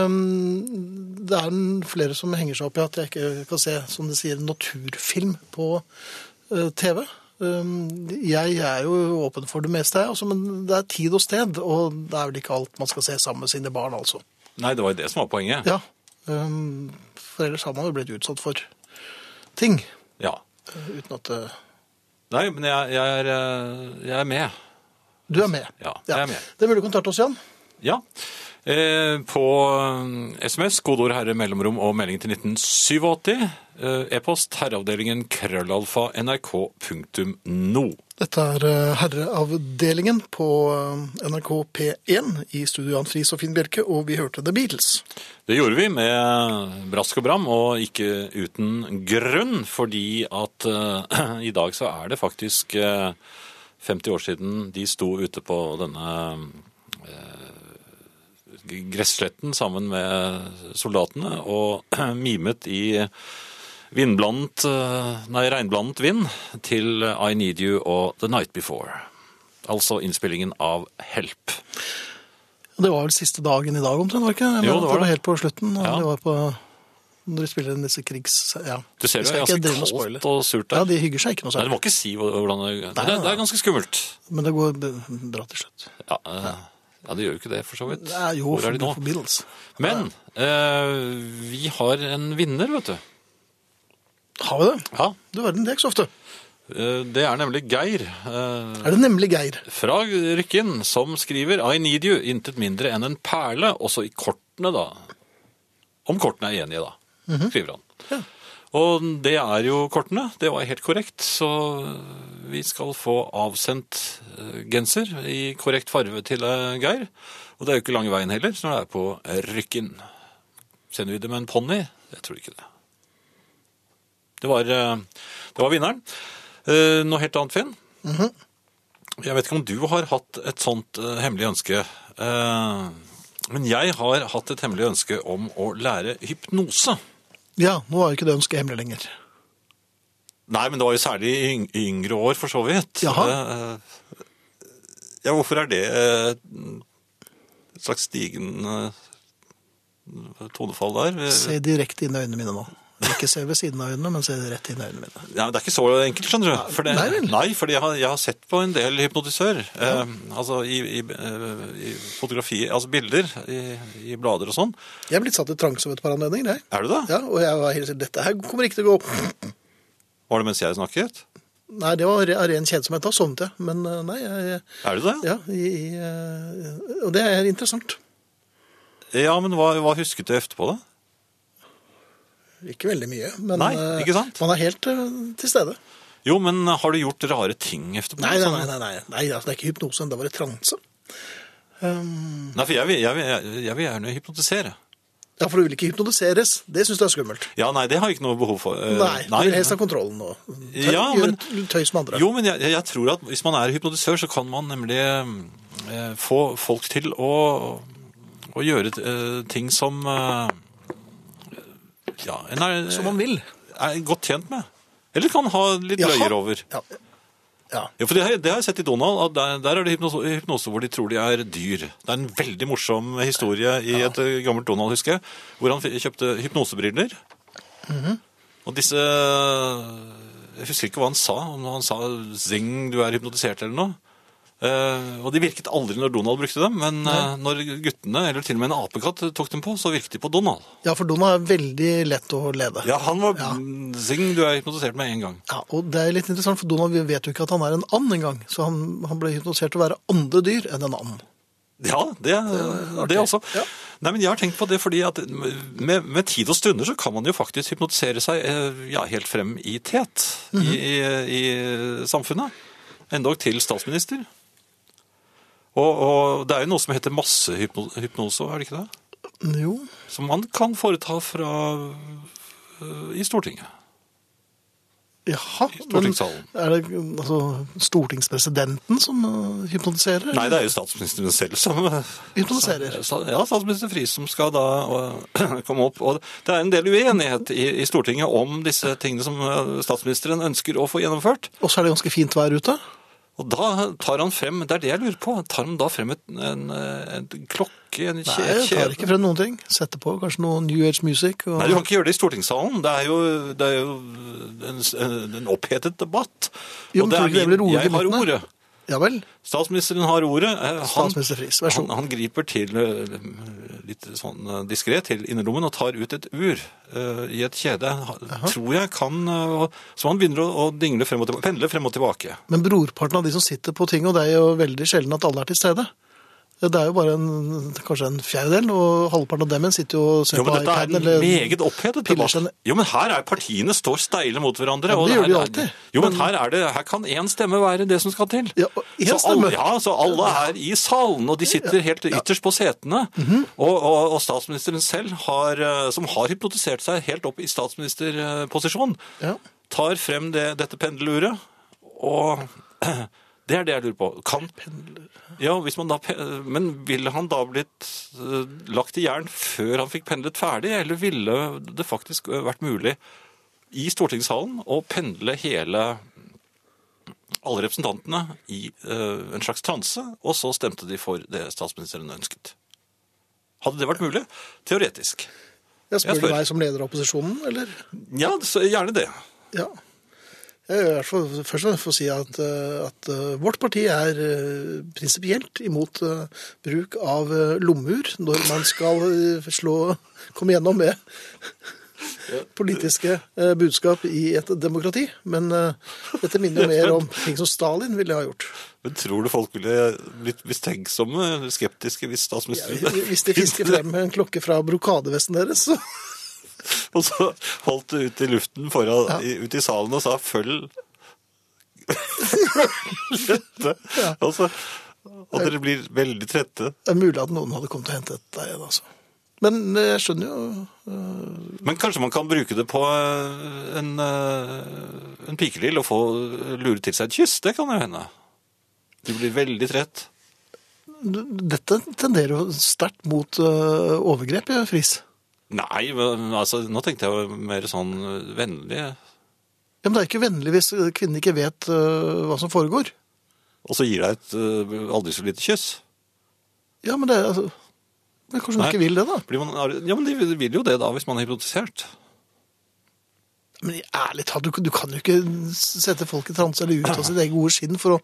S1: Ehm, det er en- flere som henger seg opp i at jeg ikke kan se, som de sier, naturfilm på eh, TV. Ehm, jeg er jo åpen for det meste, jeg, altså, men det er tid og sted, og det er vel ikke alt man skal se sammen med sine barn, altså.
S2: Nei, det var jo det som var poenget.
S1: Ja. Ehm, for ellers har man jo blitt utsatt for ting,
S2: Ja.
S1: eh, uten at det
S2: Nei, men jeg, jeg, er, eh, jeg er med.
S1: Du er med.
S2: Ja, jeg er med.
S1: Det er mulig å kontakte oss, Jan.
S2: Ja. Eh, på eh, SMS, kodeord herre mellomrom og melding til 1987. Eh, E-post herreavdelingen krøllalfa nrk.no.
S1: Dette er eh, Herreavdelingen på eh, NRK P1 i studio Jan Friis og Finn Bjelke, og vi hørte The Beatles.
S2: Det gjorde vi med brask og bram, og ikke uten grunn, fordi at eh, i dag så er det faktisk eh, 50 år siden de sto ute på denne eh, gressletten sammen med soldatene og mimet i vindblandet, eh, nei, regnblandet vind til I Need You og The Night Before. Altså innspillingen av Help.
S1: Det var vel siste dagen i dag omtrent, var det ikke? Jeg
S2: Jo,
S1: mener
S2: det
S1: at
S2: var det.
S1: helt på slutten, og
S2: Ja.
S1: det var på når de spiller disse krigs... Ja.
S2: Du ser
S1: Vi
S2: det
S1: skal
S2: er
S1: ikke drive med
S2: ganske
S1: spoiler.
S2: kaldt og surt der.
S1: Ja, de hygger seg ikke noe
S2: Nei, du
S1: særlig,
S2: må ikke si hva- hvordan det
S1: Nei,
S2: det,
S1: nei,
S2: det er ganske skummelt.
S1: men det går bra til slutt.
S2: Ja, eh, ja, det gjør jo ikke det, for så vidt.
S1: Det er jo
S2: Hvor er de nå?
S1: for Beatles.
S2: Men eh, vi har en vinner, vet du.
S1: Har vi det?
S2: Ja.
S1: Du verden, det er ikke så ofte.
S2: eh, Det er nemlig Geir eh,
S1: Er det nemlig Geir?
S2: fra Rykkinn som skriver I need you, intet mindre enn en perle, også i kortene, da. Om kortene er enige, da, skriver han. Og det er jo kortene. Det var helt korrekt. Så vi skal få avsendt eh, genser i korrekt farve til eh, Geir. Og det er jo ikke lange veien heller, så det er på Rykkinn. Sender vi det med en ponni? Jeg tror ikke det. Det var, eh, det var vinneren. Eh, Noe helt annet, Finn. Jeg vet ikke om du har hatt et sånt eh, hemmelig ønske. Eh, men jeg har hatt et hemmelig ønske om å lære hypnose.
S1: Ja, nå er jo ikke det ønsket hemmelig lenger.
S2: Nei, men det var jo særlig i yng- i yngre år, for så vidt.
S1: Jaha.
S2: Eh, Ja, hvorfor er det eh, et slags stigende eh, tonefall der?
S1: Se direkte inn i øynene mine nå. Ikke se ved siden av øynene, men se rett inn i øynene mine.
S2: Ja, men det er ikke så enkelt, skjønner du. For det,
S1: Nei vel.
S2: nei, fordi jeg har, jeg har sett på en del hypnotisør. Eh, altså i, i, eh, i fotografi, altså bilder i, i blader og sånn.
S1: Jeg er blitt satt i transe ved et par anledninger, jeg.
S2: Er du det?
S1: Ja, og jeg var helt sikker, dette her kommer ikke til å gå.
S2: Var det mens jeg snakket?
S1: Nei, det var av ren kjedsomhet. Da sovnet jeg. Men eh, nei, jeg,
S2: Er det det?
S1: ja, i, i, eh, og det er interessant.
S2: Ja, men hva, hva husket du etterpå, da?
S1: Ikke veldig mye, men
S2: Nei,
S1: eh,
S2: ikke sant?
S1: man er helt eh, til stede.
S2: Jo, men har du gjort rare ting etterpå?
S1: Nei, nei,
S2: Sånn-
S1: nei, nei, nei, nei altså, det er ikke hypnose, det var et transe.
S2: Nei, for jeg vil, jeg, vil, jeg vil gjerne hypnotisere.
S1: Ja, for du vil ikke hypnotiseres. Det syns du er skummelt.
S2: Ja, nei, det har jeg ikke noe behov for. Eh,
S1: Nei, du vil helst ha kontrollen nå. Tøy,
S2: Ja,
S1: gjør
S2: men-
S1: et tøys med andre.
S2: Jo, men jeg, jeg tror at hvis man er hypnotisør, så kan man nemlig eh, få folk til å, å gjøre eh, ting som eh, ja, en er,
S1: Som man vil.
S2: er godt tjent med. Eller kan ha litt
S1: Jaha.
S2: løyer over.
S1: Ja. ja.
S2: Ja, for det har, jeg- det har jeg sett i Donald, at der, der er det hypnose, hypnose hvor de tror de er dyr. Det er en veldig morsom historie i et eh, gammelt Donald, husker jeg, hvor han f- kjøpte hypnosebriller. Mhm. Og disse Jeg husker ikke hva han sa, om han sa 'zing, du er hypnotisert' eller noe. Eh, og de virket aldri når Donald brukte dem, men eh, når guttene, eller til og med en apekatt, tok dem på, så virket de på Donald.
S1: ja, for Donald er veldig lett å lede.
S2: Ja, han var 'zing, du er hypnotisert' med en gang.
S1: Ja, og det er litt interessant, for Donald vet jo ikke at han er en and engang. Så han, han ble hypnotisert til å være andre dyr enn en and.
S2: Ja, det, det også.
S1: Ja.
S2: Nei, men jeg har tenkt på det fordi at med, med tid og stunder så kan man jo faktisk hypnotisere seg eh, ja, helt frem i tet i, i, i samfunnet. Endog til statsminister. Og, og det er jo noe som heter massehypnose, er det ikke det?
S1: Jo,
S2: Som man kan foreta fra eh, i Stortinget.
S1: jaha.
S2: stortingssalen.
S1: Men Er det altså, stortingspresidenten som øh, hypnotiserer?
S2: Nei, det er jo statsministeren selv som
S1: Hypnotiserer.
S2: Sta- Ja, statsminister Friis som skal da øh, komme opp. Og det er en del uenighet i, i Stortinget om disse tingene som øh, statsministeren ønsker å få gjennomført.
S1: Og så er det ganske fint vær ute.
S2: Og da tar han frem, det er det jeg lurer på, tar han da frem et, en, øh, en klokke, en
S1: Nei,
S2: kje-
S1: jeg tar
S2: kjede?
S1: ikke frem noen ting. Setter på kanskje noe New Age music. Og...
S2: Nei, du kan ikke gjøre det i stortingssalen. Det er jo, det er jo en, s- eh, en opphetet debatt.
S1: Jo,
S2: Og
S1: men tror du ikke det
S2: min-
S1: blir rolig
S2: Jeg har
S1: debattene?
S2: ordet.
S1: Ja vel.
S2: Statsministeren har ordet. Eh, Han,
S1: Statsminister Friis, vær så
S2: han,
S1: god.
S2: han griper til eh, litt sånn diskré til innerlommen og tar ut et ur eh, i et kjede. Han- Tror jeg kan eh, Så han begynner å, å dingle frem og tilbake, pendle frem og tilbake.
S1: Men brorparten av de som sitter på ting og det er jo veldig sjelden at alle er til stede. Det er jo bare en, kanskje en fjerdedel, og halvparten av dem igjen sitter jo og ser
S2: Jo,
S1: på
S2: men dette er
S1: iPaden.
S2: en
S1: eller-
S2: meget opphetet
S1: piller
S2: debatt.
S1: seg ned.
S2: Jo, men her er partiene står steile mot hverandre.
S1: Ja, men
S2: og
S1: det gjør de
S2: her er-
S1: alltid.
S2: Jo, men her, er det, her kan én stemme være det som skal til.
S1: Ja, og én
S2: så
S1: stemme.
S2: alle, ja, så alle er i salen, og de sitter helt ytterst på setene. og, og, og statsministeren selv, har, eh, som har hypnotisert seg helt opp i statsministerposisjon,
S1: Ja.
S2: tar frem det, dette pendeluret, og det er det jeg lurer på. Kan, ja, hvis man da, pe- men ville han da blitt eh, lagt i jern før han fikk pendlet ferdig, eller ville det faktisk eh, vært mulig i stortingssalen å pendle hele alle representantene i eh, en slags transe, og så stemte de for det statsministeren ønsket? Hadde det vært mulig? Teoretisk.
S1: Jeg spør,
S2: Jeg spør.
S1: du meg som leder av opposisjonen, eller?
S2: Ja, så gjerne det.
S1: Ja. Jeg vil i hvert fall først og fremst få si at, eh, at eh, vårt parti er eh, prinsipielt imot eh, bruk av eh, lommeur når man skal eh, slå komme gjennom med politiske eh, budskap i et demokrati. Men eh, dette minner jo mer om ting som Stalin ville ha gjort.
S2: Men tror du folk ville blitt mistenksomme eller skeptiske hvis statsministeren
S1: Hvis de fisker frem en klokke fra brokadevesten deres, så
S2: Og så holdt det ut i luften foran, i, ut i salen og sa 'følg dette'. Og, så, og dere blir veldig trette.
S1: det er mulig at noen hadde kommet og hentet deg igjen, altså. Men eh, jeg skjønner jo
S2: Men kanskje man kan bruke det på eh, en, eh, en pikerill og få lure til seg et kyss. Det kan jo hende. Du blir veldig trett.
S1: Dette tenderer jo sterkt mot øh, overgrep, ja, Friis.
S2: Nei, men altså, nå tenkte jeg jo mer sånn vennlig.
S1: Ja, men det er ikke vennlig hvis kvinnen ikke vet øh, hva som foregår.
S2: Og så gir deg et eh, aldri så lite kyss.
S1: Ja, men det er altså men Kanskje hun
S2: Nei.
S1: ikke vil det, da?
S2: Blir man, ja, men de vil jo det da, hvis man er hypnotisert.
S1: Men i ærlig talt, du, du kan jo ikke sette folk i transe eller ut av sitt eget gode skinn for å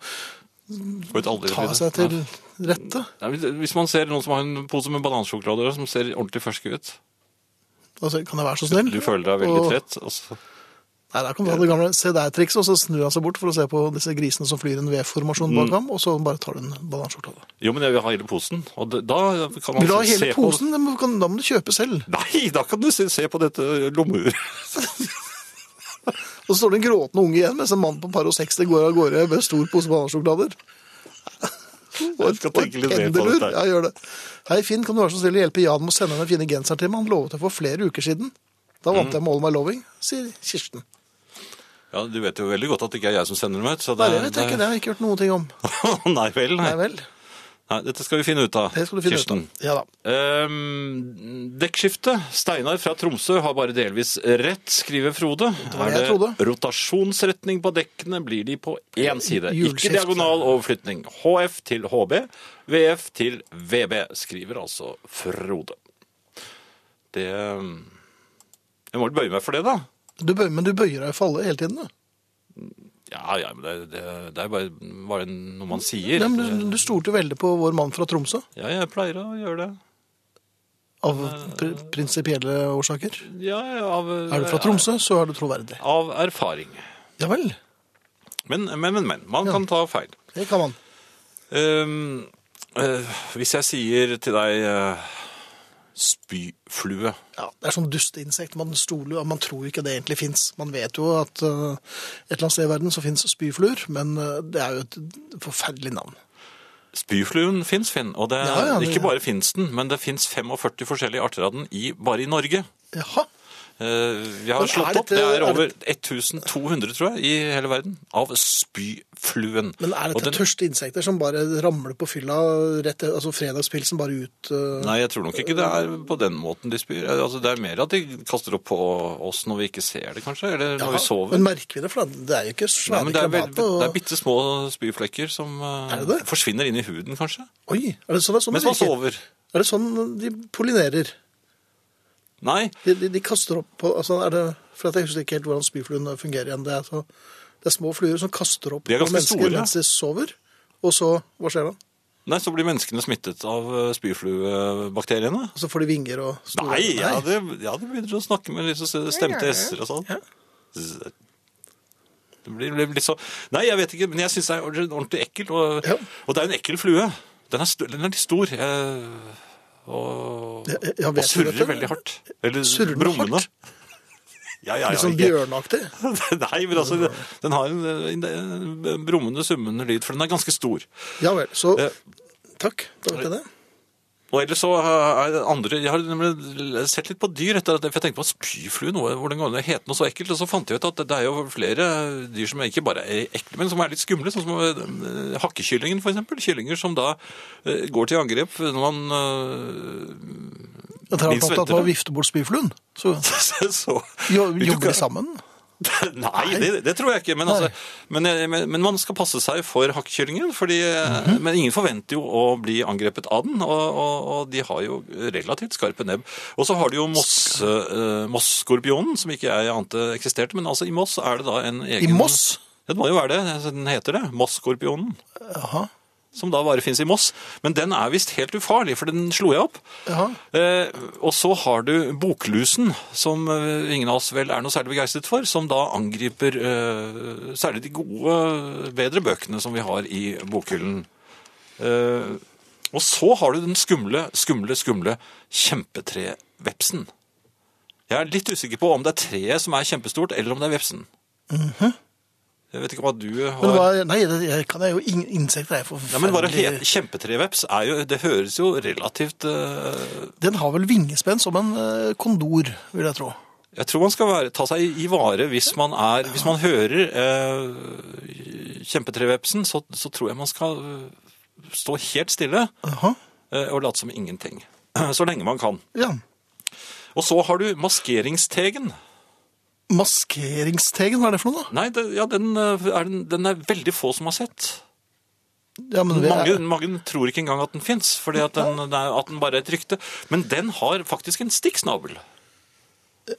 S2: Får et aldri så
S1: ta
S2: lite-
S1: seg
S2: Nei.
S1: til rette.
S2: Nei, hvis- Hvis man ser noen som har en pose med banansjokolader som ser ordentlig ferske ut
S1: Altså, kan jeg være så snill?
S2: Du føler deg veldig
S1: Og-
S2: trett. og så-
S1: Nei, der kan du ha det gamle se der-trikset, og så snur han seg bort for å se på disse grisene som flyr i en V-formasjon
S2: Mm.
S1: bak ham, og så bare tar du en banansjokolade.
S2: Jo, men jeg vil ha hele posen. Og det- da kan man
S1: Vil du ha
S2: se
S1: hele
S2: på-
S1: posen? Da må da må du kjøpe selv.
S2: Nei, da kan du se, se på dette lommeuret.
S1: Og så står det en gråtende unge igjen, mens en sånn mann på par og 60 går av gårde med en stor pose banansjokolader.
S2: Jeg skal tenke litt mer på
S1: Pendler.
S2: dette.
S1: Ja,
S2: her.
S1: gjør det. Hei, Finn, kan du være så snill å hjelpe Jan med å sende henne fine genser til meg? Han lovet det for flere uker siden. Da
S2: Mm.
S1: vant jeg med All My Loving, sier Kirsten.
S2: Ja, Du vet jo veldig godt at det ikke er jeg som sender dem ut. Så
S1: Nei,
S2: det,
S1: det vet jeg ikke, det har jeg ikke hørt noen ting om.
S2: nei vel, nei.
S1: Nei vel,
S2: nei. Dette skal vi finne ut av,
S1: det skal du finne
S2: Kirsten.
S1: ut av. Ja da.
S2: Ehm, dekkskifte. Steinar fra Tromsø har bare delvis rett, skriver Frode.
S1: var
S2: er
S1: det
S2: det
S1: jeg trodde.
S2: rotasjonsretning på dekkene, blir de på én side.
S1: Hjulskift.
S2: Ikke diagonal overflytning. HF til HB, VF til VB, skriver altså Frode. Det Jeg må vel bøye meg for det, da.
S1: Du bøyer, men du bøyer deg jo for alle hele tiden, du.
S2: Ja, ja, men det, det, det er bare, bare noe man sier.
S1: Ja, men du, du stolte jo veldig på vår mann fra Tromsø,
S2: Ja, jeg pleier å gjøre det.
S1: av pr prinsipielle årsaker.
S2: Ja, av,
S1: Er du fra Tromsø, så er du troverdig.
S2: Av erfaring.
S1: Ja vel,
S2: Men, men, men. men man kan ta feil.
S1: det kan man.
S2: Ehm, eh, hvis jeg sier til deg eh, spyflue
S1: Ja, det er sånn dusteinsekt. Man stoler jo, man tror jo ikke det egentlig fins. Man vet jo at eh, et eller annet sted i verden så fins spyfluer, men eh, det er jo et forferdelig navn.
S2: Spyfluen fins, Finn. Og det,
S1: Ja, ja, det-
S2: ikke bare fins den, men det fins 45 forskjellige arter av den i, bare i Norge.
S1: Jaha.
S2: Eh, vi har
S1: Men er
S2: slått opp.
S1: dette-
S2: Det er
S1: er
S2: over 1200, tror jeg, i hele verden, av spyfluen.
S1: Men er
S2: Og
S1: dette
S2: den-
S1: tørste insekter som bare ramler på fylla rett Altså fredagspilsen bare ut eh,
S2: Nei, jeg tror nok ikke det er på den måten de spyr. Eh, Altså, det er mer at de kaster opp på oss når vi ikke ser det, kanskje. Eller når
S1: ja,
S2: vi sover.
S1: Men merker vi det? For det er jo ikke
S2: Nei,
S1: svære
S2: men det er, vel,
S1: krabater.
S2: det er
S1: Og...
S2: bitte små spyflekker som eh,
S1: Er det det?
S2: forsvinner inn i huden, kanskje.
S1: Oi! Er det sånn, er det sånn
S2: Mens
S1: det
S2: man
S1: virker?
S2: sover.
S1: Er det sånn de pollinerer?
S2: Nei,
S1: De, de, de kaster opp på altså er det, For at jeg husker ikke helt hvordan spyfluen fungerer igjen. Det er, så, det er små fluer som kaster opp
S2: De er
S1: på
S2: ganske
S1: mennesker
S2: store.
S1: mens de sover. Og så, hva skjer da?
S2: nei, så blir menneskene smittet av eh, spyfluebakteriene.
S1: Og så får de vinger og store
S2: Nei, ja, det, ja, det begynner å snakke med litt så stemte s-er og sånn. Z- Det blir, blir litt så... Nei, jeg vet ikke, men jeg syns det er ordentlig ekkelt. Og,
S1: Ja.
S2: og det er en ekkel flue. Den er, st- den er litt stor. eh, Og,
S1: Ja, ja,
S2: og
S1: vet du
S2: surrer
S1: dette?
S2: veldig hardt. Eller
S1: Surrer den
S2: brummende.
S1: hardt?
S2: Ja, ja, ja.
S1: Litt sånn
S2: ikke-
S1: bjørnaktig.
S2: Nei, men altså, den har en, en, en brummende, summende lyd, for den er ganske stor.
S1: Ja vel. Så
S2: Eh,
S1: takk, da vet jeg det.
S2: Og ellers så eh, er det andre Jeg har nemlig sett litt på dyr etter at for jeg tenkte på spyflue, noe, hvordan går det het noe så ekkelt? Og så fant jeg ut at det er jo flere dyr som ikke bare er ekle, men som er litt skumle. Sånn som eh, hakkekyllingen, for eksempel. Kyllinger som da eh, går til angrep når man eh,
S1: Jeg tror
S2: Nils
S1: jeg tatt av
S2: Venter,
S1: å
S2: da.
S1: vifte bort spyfluen. Så
S2: så
S1: jo,
S2: Vet du
S1: jobber de
S2: hva?
S1: sammen.
S2: Nei, det, det tror jeg ikke. Men, altså, men, men, men man skal passe seg for hakkekyllingen. Fordi, eh, Men ingen forventer jo å bli angrepet av den, og, og, og de har jo relativt skarpe nebb. Og så har du jo Moss, eh, Moss-skorpionen, som ikke jeg ante eksisterte. Men altså, i Moss er det da en egen
S1: Moss?
S2: Ja, Det må jo være det. altså, Den heter det. Moss-skorpionen.
S1: Jaha.
S2: Som da bare fins i Moss. Men den er visst helt ufarlig, for den slo jeg opp.
S1: Jaha.
S2: Eh, og så har du boklusen, som eh, ingen av oss vel er noe særlig begeistret for, som da angriper eh, særlig de gode, bedre bøkene som vi har i bokhyllen. Eh, og så har du den skumle, skumle, skumle kjempetrevepsen. Jeg er litt usikker på om det er treet som er kjempestort, eller om det er vepsen. Jeg vet ikke hva du har
S1: Mhm. Men hva, nei, det jeg kan jeg jo in insekter er jo
S2: ja, men bare
S1: forferdelig.
S2: het kjempetreveps er jo Det høres jo relativt eh,
S1: Den har vel vingespenn som en eh, kondor, vil jeg tro.
S2: Jeg tror man skal være, ta seg i vare hvis man er Hvis man hører eh, kjempetrevepsen, så, så tror jeg man skal eh, stå helt stille
S1: Jaha.
S2: eh, og late som ingenting. Så lenge man kan.
S1: Ja.
S2: Og så har du maskeringstegen.
S1: Maskeringstegen, hva er det for noe da?
S2: Nei, det, ja, den, eh, er, den- den er veldig få som har sett.
S1: Ja, men det er-
S2: Mange, mange tror ikke engang at den fins, fordi at den, det er- at den bare er et rykte. Men den har faktisk en stikksnabel.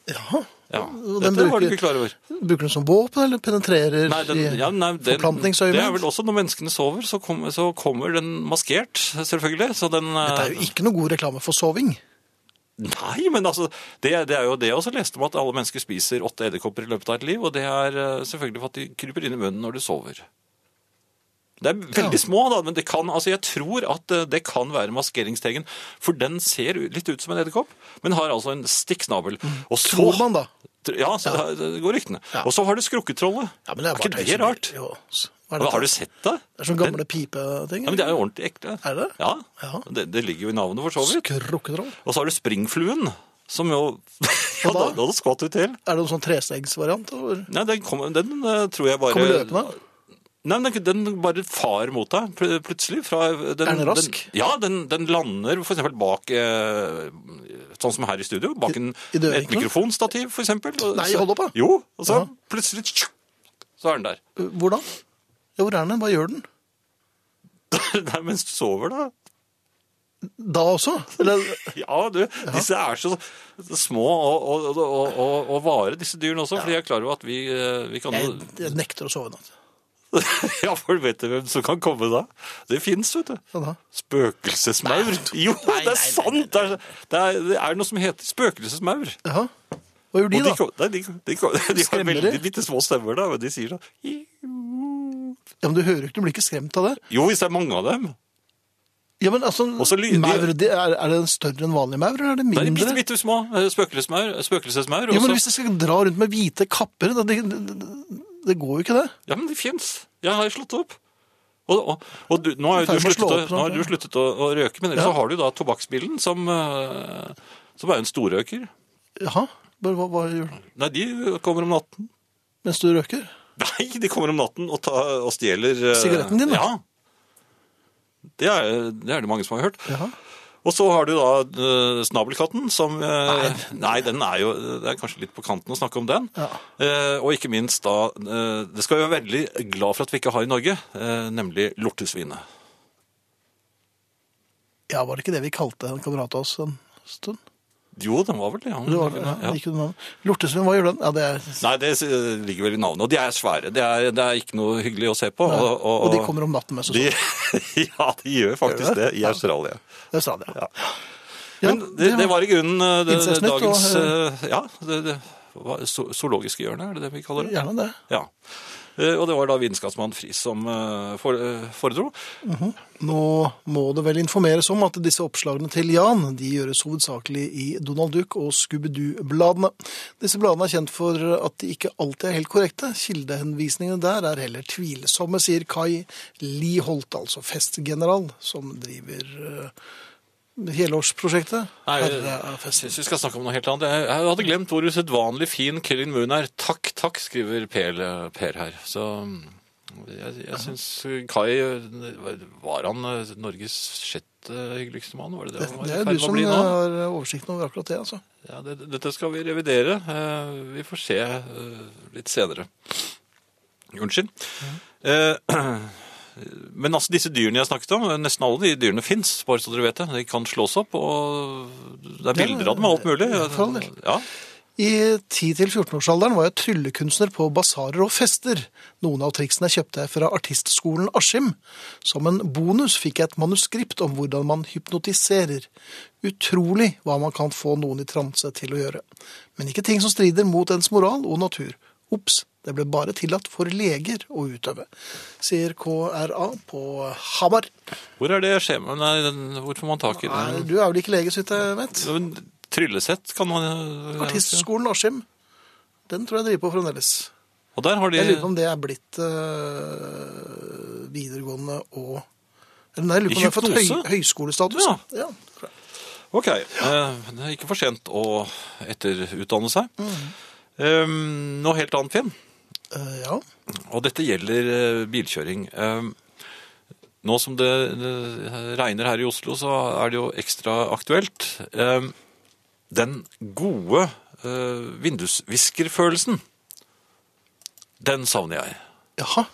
S1: Jaha.
S2: Ja,
S1: Og
S2: Dette
S1: den
S2: var du
S1: bruker-
S2: ikke klar over.
S1: Bruker den som våpen, eller penetrerer
S2: Nei, den, ja, nei,
S1: i
S2: den,
S1: forplantningsøyemed?
S2: det er vel også når menneskene sover, så, kom, så kommer den maskert, selvfølgelig. Så den, eh,
S1: Dette er jo ikke noe god reklame for soving.
S2: Nei, men altså, det, det er jo det jeg også leste om, at alle mennesker spiser åtte edderkopper i løpet av et liv, og det er eh, selvfølgelig for at de kryper inn i munnen når du sover. Det er veldig små, da, men det kan, altså, jeg tror at eh, det kan være maskeringstegen, for den ser u- litt ut som en edderkopp, men har altså en stikksnabel. Og så,
S1: Mm. Tror man da.
S2: Ja, så, det går ryktene. Og så har du skrukketrollet.
S1: Ja, men det er,
S2: ikke
S1: bare
S2: det
S1: tøys.
S2: rart?
S1: Jo, hva er
S2: Men
S1: det?
S2: Har du sett det?
S1: Det er sånne gamle pipeting.
S2: Ja, men det er jo ordentlig ekte.
S1: Er det?
S2: Ja,
S1: Ja.
S2: Det, det ligger jo i navnet for så vidt.
S1: Skrukketroll.
S2: Og så har du springfluen, som jo Ja,
S1: da?
S2: da, da skvatt du til.
S1: Er det noen sånn trestegsvariant? eller?
S2: Nei, den, kom, den eh, tror jeg bare
S1: Kommer løpende?
S2: Nei, men den, den bare far mot deg pl- plutselig. Fra, den,
S1: Er den rask?
S2: ja, den, den lander for eksempel bak eh, Sånn som her i studio. Bak en,
S1: I- i døren,
S2: et
S1: ikke sant?
S2: mikrofonstativ, for eksempel. Og
S1: Nei,
S2: så-
S1: hold opp, da.
S2: Jo, og så
S1: Ja.
S2: plutselig tsk, Så er den der.
S1: Hvor da? Ja, hvor er den? Hva gjør den?
S2: Nei, mens du sover, da.
S1: Da også? Eller,
S2: Ja, du, disse er så små og, og, og, og, og vare, disse dyrene også. Fordi jeg er klar over at vi, eh, vi kan
S1: jeg, jeg nekter å sove i natt.
S2: Ja, for vet du hvem som kan komme da? Det fins, vet du.
S1: Ja, Sånn, da.
S2: Spøkelsesmaur. Jo,
S1: Nei,
S2: det
S1: nei,
S2: er sant! Det er, det, er, det er noe som heter spøkelsesmaur.
S1: Jaha. Hva gjør de,
S2: Og de,
S1: da?
S2: kom, nei, de, de, kom, de har
S1: Skremmer de?
S2: veldig bitte små stemmer, da, men de sier sånn
S1: Ja, men Du hører jo ikke, du blir ikke skremt av det.
S2: Jo, hvis det er mange av dem.
S1: Ja, men altså,
S2: så ly- de-
S1: maur, det er, er det større enn vanlig maur, eller er det
S2: Det
S1: mindre?
S2: er de bitte, bitte små eh, spøkelsesmaur. spøkelsesmaur
S1: ja, men
S2: også.
S1: Hvis jeg skal dra rundt med hvite kapper, da, det, det, det går jo ikke det.
S2: Ja, men de fins. Jeg har slått opp. Og, og, og du, nå har jo
S1: Ferdig
S2: du
S1: med å
S2: sluttet,
S1: slå
S2: å,
S1: opp,
S2: nå har du
S1: sant?
S2: sluttet å, å røyke, men ellers
S1: Ja.
S2: så har du da tobakksbillen, som, eh, som er jo en storrøyker.
S1: Jaha, bare hva, hva gjør du?
S2: Nei, de kommer om natten.
S1: Mens du røker?
S2: Nei, de kommer om natten og, ta, og stjeler eh,
S1: Sigaretten din, da?
S2: Ja. Det er, det er det mange som har hørt.
S1: Jaha.
S2: Og så har du da eh, snabelkatten, som eh, nei. den er jo Det er kanskje litt på kanten å snakke om den.
S1: Ja.
S2: Eh, og ikke minst da eh, Det skal vi være veldig glad for at vi ikke har i Norge, eh, nemlig lortesvinet.
S1: Ja, var det ikke det vi kalte en kamerat av oss en stund?
S2: Jo, den var vel det. Ja.
S1: Det var, ja,
S2: Ja.
S1: ikke noe navn. Lortesvin, hva gjør den? Ja, det er,
S2: Nei, det eh, ligger vel i navnet. Og de er svære. Det er, det er ikke noe hyggelig å se på. Og, og,
S1: og de kommer om natten med sesong.
S2: de, Ja, de gjør faktisk
S1: Gjør
S2: det
S1: det?
S2: i Australia.
S1: Det sa de, ja. Ja,
S2: Men det, det var i grunnen eh, det, det,
S1: Incestnytt og,
S2: dagens eh, Ja, det, det hva- zo- zoologiske hjørne, er det det vi kaller det?
S1: Gjerne det.
S2: Ja. Eh, Og det var da vitenskapsmann Friis som eh, for- eh, foredro.
S1: Nå må det vel informeres om at disse oppslagene til Jan de gjøres hovedsakelig i Donald Duck og Scooby-Doo-bladene. Disse bladene er kjent for at de ikke alltid er helt korrekte. Kildehenvisningene der er heller tvilsomme, sier Kai Liholt, altså festgeneral, som driver eh, helårsprosjektet.
S2: Nei,
S1: Herre er
S2: jeg
S1: festen.
S2: syns vi skal snakke om noe helt annet. Jeg jeg hadde glemt hvor usedvanlig fin Killin Moon er. Takk, takk, skriver Per, eh, per her. Så mm, jeg, jeg syns Kai eh, Var han eh, Norges sjette hyggeligste mann? Var det det
S1: Det,
S2: han var?
S1: det
S2: i
S1: er du
S2: ferd med å
S1: som
S2: bli nå?
S1: har oversikten over akkurat det, altså.
S2: Ja, det, dette skal vi revidere. Eh, vi får se eh, litt senere. Unnskyld. Eh, men altså, disse dyrene jeg snakket om, nesten alle de dyrene fins, bare så dere vet det. De kan slås opp, og det er
S1: Ja,
S2: bilder av dem og alt mulig.
S1: ja, for all del.
S2: Ja,
S1: I 10-14-årsalderen var jeg tryllekunstner på basarer og fester. Noen av triksene kjøpte jeg fra artistskolen Askim. Som en bonus fikk jeg et manuskript om hvordan man hypnotiserer. Utrolig hva man kan få noen i transe til å gjøre. Men ikke ting som strider mot ens moral og natur. Ops, det ble bare tillatt for leger å utøve, sier KRA på Hamar.
S2: Hvor er det skjemaet? Nei, den- hvor får man tak i
S1: Nei,
S2: det?
S1: Du er vel ikke lege, så vidt jeg vet.
S2: Men Tryllesett kan man eh,
S1: Artistskolen Askim, den tror jeg driver på fremdeles.
S2: Og der har de
S1: Jeg lurer på om det er blitt eh, videregående og Eller nei, jeg lurer på om det har fått høy,
S2: Hypnose?
S1: høyskolestatus.
S2: Ja.
S1: Ja.
S2: Ok, eh, det er ikke for sent å etterutdanne seg.
S1: Mm.
S2: Eh, noe helt annet, Finn.
S1: Eh, ja.
S2: Og dette gjelder eh, bilkjøring. Eh, Nå som det eh, regner her i Oslo, så er det jo ekstra aktuelt. Eh, Den gode eh, vindusviskerfølelsen, den savner jeg.
S1: Jaha.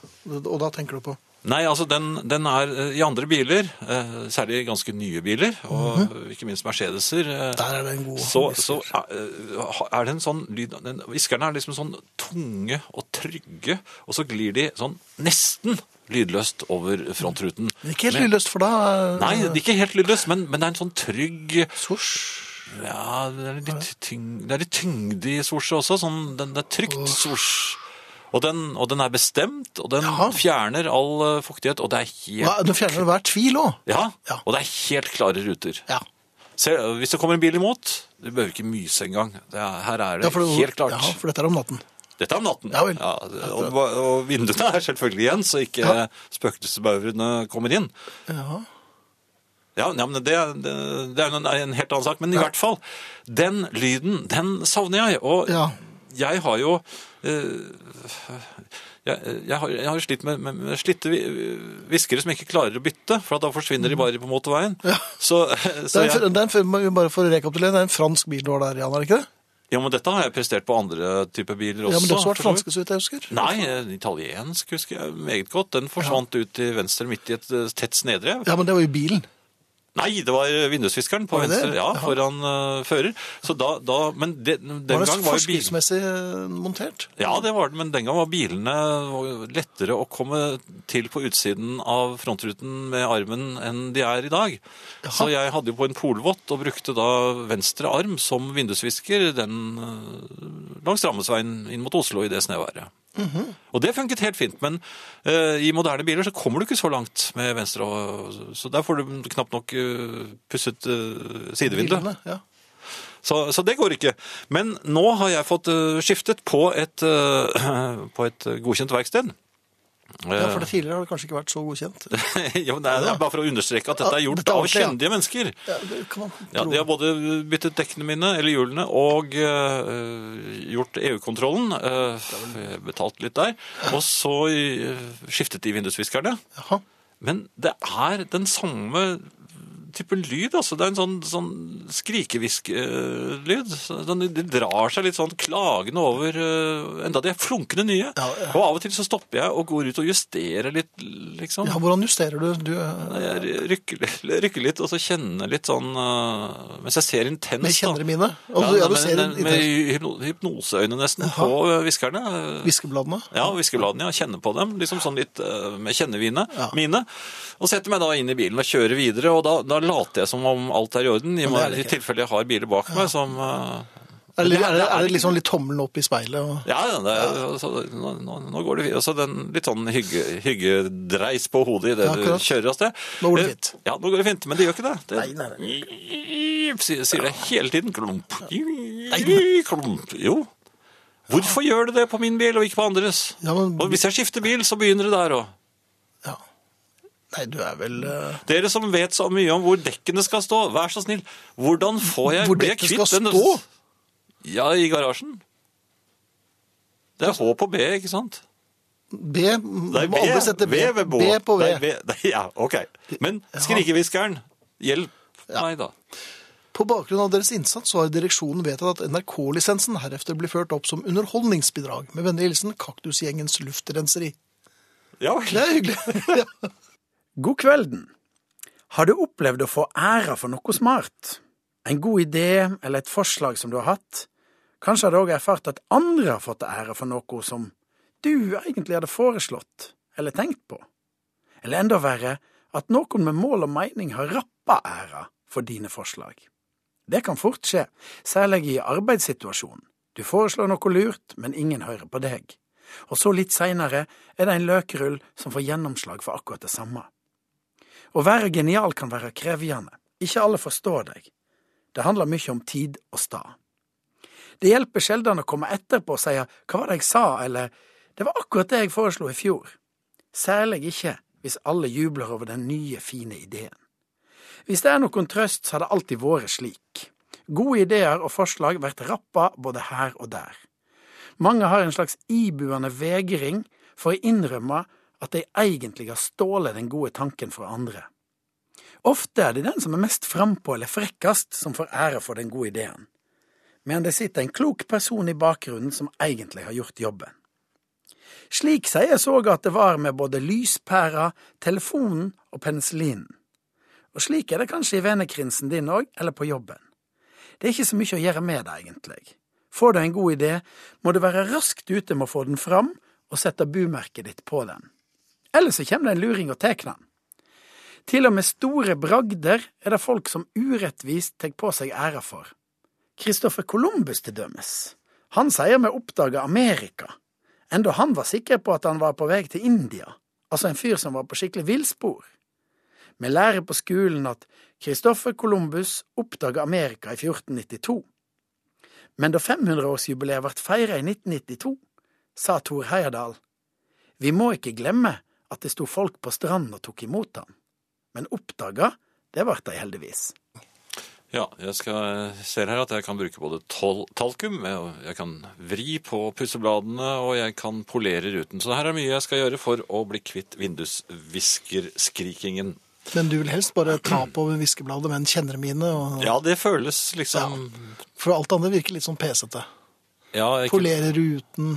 S1: Og da tenker du på
S2: Nei, altså den, den er eh, i andre biler, eh, særlig ganske nye biler, og ikke minst Mercedeser.
S1: Mhm.
S2: eh,
S1: Der er det en god
S2: så,
S1: hvisker.
S2: så er er det en sånn lyd den, Hviskerne er liksom sånn tunge og trygge, og så glir de sånn nesten lydløst over frontruten.
S1: Men Ikke helt
S2: Men-
S1: lydløst, for da eh,
S2: Nei, det er ikke helt lydløst, men, men det er en sånn trygg
S1: Sosj.
S2: ja, det er litt, tyng, det er litt tyngde i sorset også. Sånn, den det er trygt sors. Og den, og den er bestemt, og den
S1: Ja.
S2: fjerner all eh, fuktighet, og det er helt
S1: Hva- Du fjerner hver tvil òg.
S2: ja,
S1: Ja.
S2: og det er helt klare ruter.
S1: Ja.
S2: Se, hvis det kommer en bil imot, du behøver ikke myse engang. Det er, her er det
S1: Ja, for det-
S2: helt klart.
S1: Ja, for dette er om natten.
S2: Dette er om natten.
S1: Ja vel.
S2: og, og vinduene er selvfølgelig igjen, så ikke
S1: Ja.
S2: spøkelsesbaurene kommer inn.
S1: Ja.
S2: Ja, ja, men det, det, det er jo en, en helt annen sak. Men i hvert fall, den lyden, den savner jeg. Og
S1: Ja.
S2: jeg har jo eh, jeg, jeg, har, jeg har slitt med, med, med slitte vi- hviskere som ikke klarer å bytte, for da forsvinner de bare på motorveien. Så,
S1: Mm. Det
S2: så
S1: er, en-
S2: jeg,
S1: det er en, firma- bare for å rekapitulere, det er en fransk bil du har der, Jan, er det ikke det?
S2: ja, men dette har jeg prestert på andre typer biler også.
S1: Ja, men det har også vært
S2: for så vidt.
S1: franske, så vidt jeg husker.
S2: Nei, en italiensk husker jeg meget godt. Den forsvant ut til venstre midt i et eh, tett snedrev.
S1: Ja, men det var jo bilen.
S2: Nei, det var vindusfiskeren på
S1: Var det det?
S2: venstre, ja,
S1: Jaha.
S2: foran eh, fører. Så da, da Men de, den
S1: Var
S2: gang
S1: det
S2: var jo bilen
S1: forskriftsmessig eh, montert?
S2: ja, det var den, men den gang var bilene lettere å komme til på utsiden av frontruten med armen enn de er i dag. Så jeg hadde jo på en polvott og brukte da venstre arm som vindusvisker den eh, langs Drammensveien inn mot Oslo i det snøværet. Og det funket helt fint, men eh, i moderne biler så kommer du ikke så langt med venstre, og, så der får du knapt nok eh, pusset eh, sidevinduet.
S1: Bilene, ja.
S2: Så, så det går ikke. Men nå har jeg fått eh, skiftet på et, eh, på et godkjent verksted.
S1: Ja, for det tidligere har det kanskje ikke vært så godkjent.
S2: Eh, ja, men det er det er bare for å understreke at dette er
S1: Ja,
S2: gjort
S1: dette er
S2: av
S1: ordentlig, ja.
S2: kjendige mennesker.
S1: Ja, det kan man
S2: Ja,
S1: tro.
S2: De har både byttet dekkene mine, eller hjulene, og eh, gjort EU-kontrollen. eh, betalt litt der. Og så eh, skiftet de vindusviskerne.
S1: Jaha.
S2: Men det er den samme typen lyd, altså. Det er en sånn, sånn skrikevisk-lyd. De drar seg litt sånn klagende over eh, Enda de er flunkende nye.
S1: Ja, ja.
S2: Og av og til så stopper jeg og går ut og justerer litt, liksom.
S1: Ja, hvordan justerer du? du eh,
S2: Jeg rykker, litt- rykker litt, og så kjenner litt sånn eh, Mens jeg ser intenst,
S1: med kjennere
S2: da.
S1: mine?
S2: Ja,
S1: Altså, ja, du
S2: men-
S1: ser i- i-
S2: men- med hypno, hypnoseøyne nesten på eh, hviskerne. eh,
S1: Viskebladene?
S2: ja, viskebladene, ja. Kjenne på dem, liksom sånn litt eh, med kjennevinet
S1: Ja.
S2: mine. Og setter meg da inn i bilen og kjører videre, og da, da later jeg som om alt er i orden, i,
S1: Men det er det
S2: i
S1: ikke.
S2: tilfelle jeg har biler bak meg som eh,
S1: Er det, er det, er det liksom litt tommelen opp i speilet? Og...
S2: Ja, ja, det, altså, nå, nå nå går det fint. Altså, den litt sånn hygge, hyggedreis på hodet idet
S1: Ja,
S2: du
S1: akkurat.
S2: kjører av sted.
S1: Nå går det
S2: Eh,
S1: fint.
S2: Ja, nå går det fint, men det gjør ikke det. det
S1: Nei, nei,
S2: Sier, sier det hele tiden. Klump. Klump. Jo. Hvorfor gjør det det på min bil og ikke på andres?
S1: Ja, men-
S2: Og hvis jeg skifter bil, så begynner det der òg.
S1: Ja. Nei, du er vel eh,
S2: Dere som vet så mye om hvor dekkene skal stå, vær så snill. Hvordan får jeg
S1: Hvor
S2: bli
S1: dekkene
S2: kvitt
S1: skal
S2: den-
S1: stå?
S2: Ja, i garasjen. Det er H på B, ikke sant?
S1: B Du
S2: Nei,
S1: må aldri sette B,
S2: ved bå.
S1: B på V.
S2: Nei, Nei, ja, ok. Men skrikehviskeren, hjelp meg da.
S1: På bakgrunn av deres innsats så har direksjonen vedtatt at NRK-lisensen herefter blir ført opp som underholdningsbidrag. Med vennlig hilsen Kaktusgjengens luftrenseri.
S2: Ja, vel.
S1: Det er hyggelig. ja.
S4: God kvelden. Har du opplevd å få æra for noe smart? En god idé eller et forslag som du har hatt? Kanskje har du òg erfart at andre har fått æra for noe som du egentlig hadde foreslått eller tenkt på? Eller enda verre, at noen med mål og mening har rappa æra for dine forslag. Det kan fort skje, særlig i arbeidssituasjonen. Du foreslår noe lurt, men ingen hører på deg. Og så litt seinere er det en løkrull som får gjennomslag for akkurat det samme. Å være genial kan være krevende. Ikke alle forstår deg. Det handler mye om tid og stad. Det hjelper sjelden å komme etterpå og si hva var det jeg sa, eller det var akkurat det jeg foreslo i fjor. Særlig ikke hvis alle jubler over den nye, fine ideen. Hvis det er noen trøst, så har det alltid vært slik. Gode ideer og forslag blir rappa både her og der. Mange har en slags ibuende vegring for å innrømme at de egentlig har stjålet den gode tanken fra andre. Ofte er det den som er mest frampå eller frekkest, som får ære for den gode ideen, men det sitter en klok person i bakgrunnen som egentlig har gjort jobben. Slik sies òg at det var med både lyspæra, telefonen og penicillinen. Og slik er det kanskje i vennekrinsen din òg, eller på jobben. Det er ikke så mye å gjøre med det, egentlig. Får du en god idé, må du være raskt ute med å få den fram og sette bumerket ditt på den. Eller så kommer det en luring og tar den. Til og med store bragder er det folk som urettvist tar på seg æra for. Kristoffer Columbus, til dømes. Han sier vi oppdaga Amerika, enda han var sikker på at han var på vei til India, altså en fyr som var på skikkelig villspor. Vi lærer på skolen at Kristoffer Columbus oppdaga Amerika i 1492. Men da 500-årsjubileet ble feira i 1992, sa Thor Heyerdahl Vi må ikke glemme at det sto folk på stranden og tok imot han. Men oppdaga, det ble de heldigvis.
S2: Ja, jeg skal, ser her at jeg kan bruke både tol, talkum, jeg, jeg kan vri på pussebladene, og jeg kan polere ruten. Så her er mye jeg skal gjøre for å bli kvitt vindusviskerskrikingen.
S1: Men du vil helst bare ta på viskebladet med en kjennermine, og...
S2: Ja, det føles liksom...
S1: for alt annet virker litt sånn pesete.
S2: Ja, jeg,
S1: Polere ruten.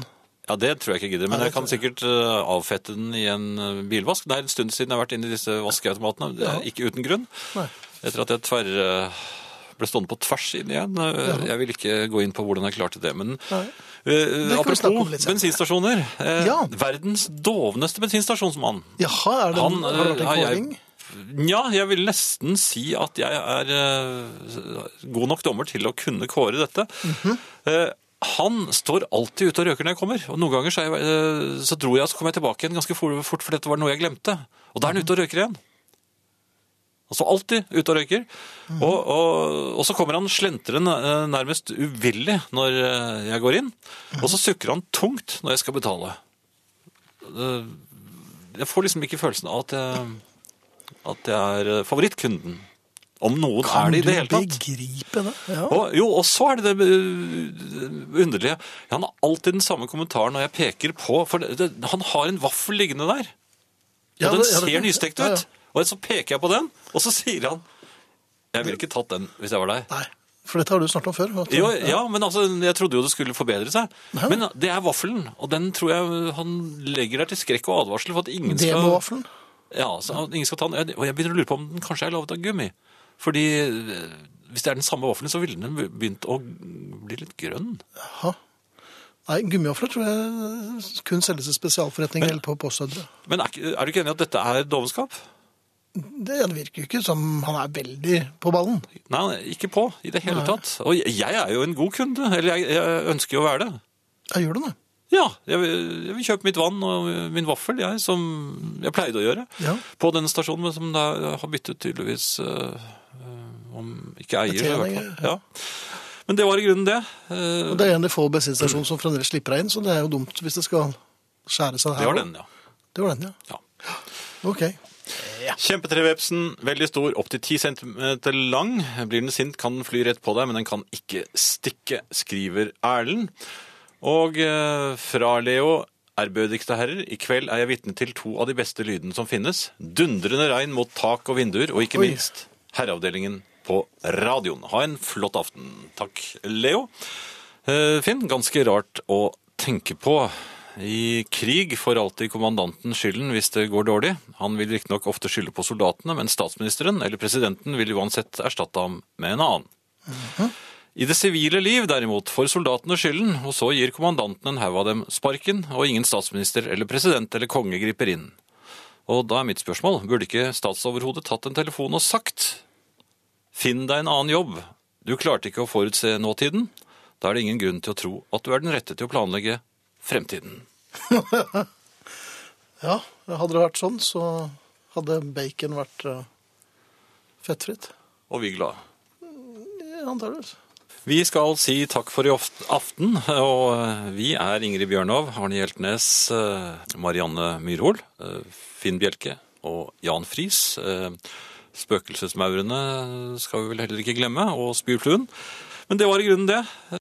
S2: ja det tror jeg ikke jeg gidder, men
S1: Nei,
S2: jeg kan sikkert eh, avfette den i en eh, bilvask. Det er en stund siden jeg har vært inne i disse vaskeautomatene, det er ikke uten grunn.
S1: Nei.
S2: Etter at jeg tverr, ble stående på tvers inn igjen. eh, Jeg vil ikke gå inn på hvordan jeg klarte det. Men eh,
S1: vi snakke om
S2: apropos
S1: litt senere.
S2: bensinstasjoner. eh,
S1: Ja.
S2: Verdens dovneste bensinstasjonsmann.
S1: Jaha, er det,
S2: Han,
S1: har det vært en
S2: eh, har jeg-
S1: kåring?
S2: Nja, jeg vil nesten si at jeg er eh, god nok dommer til å kunne kåre dette.
S1: Mhm.
S2: Eh, han står alltid ute og røker når jeg kommer. Og noen ganger så, er jeg, eh, så dro jeg, og så kom jeg tilbake igjen ganske for- fort, for dette var noe jeg glemte. Og da er han
S1: Mhm.
S2: ute og røker igjen. Altså alltid ute og røyker.
S1: Mhm.
S2: Og, og, og så kommer han slentrende eh, nærmest uvillig når eh, jeg går inn. Og så sukker han tungt når jeg skal betale. Eh, Jeg får liksom ikke følelsen av at jeg, at jeg er eh, favorittkunden. Om noen er det i det hele tatt.
S1: Kan du begripe det? Ja.
S2: Og, jo, og så er det det eh, underlige. Han har alltid den samme kommentaren når jeg peker på For det, det, han har en vaffel liggende der. Og
S1: Ja,
S2: den
S1: det- ja, det-
S2: ser nystekt ut.
S1: ja, ja.
S2: Og så peker jeg på den, og så sier han Jeg ville ikke tatt den hvis jeg var deg.
S1: Nei, for dette har du snakket om før. at-
S2: Jo, ja, men altså, Jeg trodde jo det skulle forbedre seg. Men det er vaffelen, og den tror jeg han legger der til skrekk og advarsel for at ingen
S1: Det
S2: skal
S1: med vaffelen.
S2: ja, så ingen skal ta den. Og jeg begynner å lure på om den kanskje er laget av gummi. Fordi eh, hvis det er den samme vaffelen, så ville den begynt å bli litt grønn.
S1: Jaha. Nei, gummivafler tror jeg kun selges i spesialforretninger eller på postordre.
S2: Men er, ikke- er du ikke enig i at dette er dovenskap?
S1: det virker jo ikke som han er veldig på ballen.
S2: Nei, ikke på i det hele tatt. Og jeg- jeg er jo en god kunde, eller jeg, jeg ønsker jo å være det.
S1: Ja, gjør du det?
S2: Ja, jeg vil, jeg vil kjøpe mitt vann og min vaffel, jeg, som jeg pleide å gjøre.
S1: Ja.
S2: På denne stasjonen, men som da har byttet tydeligvis øh, øh, Om ikke eier, så i hvert fall.
S1: Betjening,
S2: Ja. Men det var i grunnen det. Eh,
S1: Og det er en av de få bensinstasjonene som fremdeles slipper deg inn, så det er jo dumt hvis det skal skjære seg her.
S2: det var den, ja.
S1: Det var den, ja.
S2: ja.
S1: Ok.
S2: Kjempetrevepsen, veldig stor, opptil 10 centimeter lang. Blir den sint, kan den fly rett på deg, men den kan ikke stikke, skriver Erlend. Og eh, fra Leo, ærbødigste herrer, i kveld er jeg vitne til to av de beste lydene som finnes. Dundrende regn mot tak og vinduer, og ikke
S1: Oi.
S2: minst herreavdelingen på radioen. Ha en flott aften. Takk, Leo. Eh, Finn, ganske rart å tenke på. I krig får alltid kommandanten skylden hvis det går dårlig. Han vil riktignok ofte skylde på soldatene, men statsministeren eller presidenten vil uansett erstatte ham med en annen. I det sivile liv, derimot, får soldatene skylden, og så gir kommandanten en haug av dem sparken, og ingen statsminister eller president eller konge griper inn. Og da er mitt spørsmål, burde ikke statsoverhodet tatt en telefon og sagt Finn deg en annen jobb. Du klarte ikke å forutse nåtiden. Da er det ingen grunn til å tro at du er den rette til å planlegge fremtiden.
S1: Ja, hadde det vært sånn, så hadde bacon vært eh, fettfritt.
S2: Og vi er glad.
S1: Ja, Antageligvis.
S2: Vi skal si takk for i oft- aften, og eh, vi er Ingrid Bjørnov, Arne Hjeltnes, eh, Marianne Myrhol, eh, Finn Bjelke og Jan Friis. Eh, Spøkelsesmaurene skal vi vel heller ikke glemme, og Spyrfluen. Men det var i grunnen det.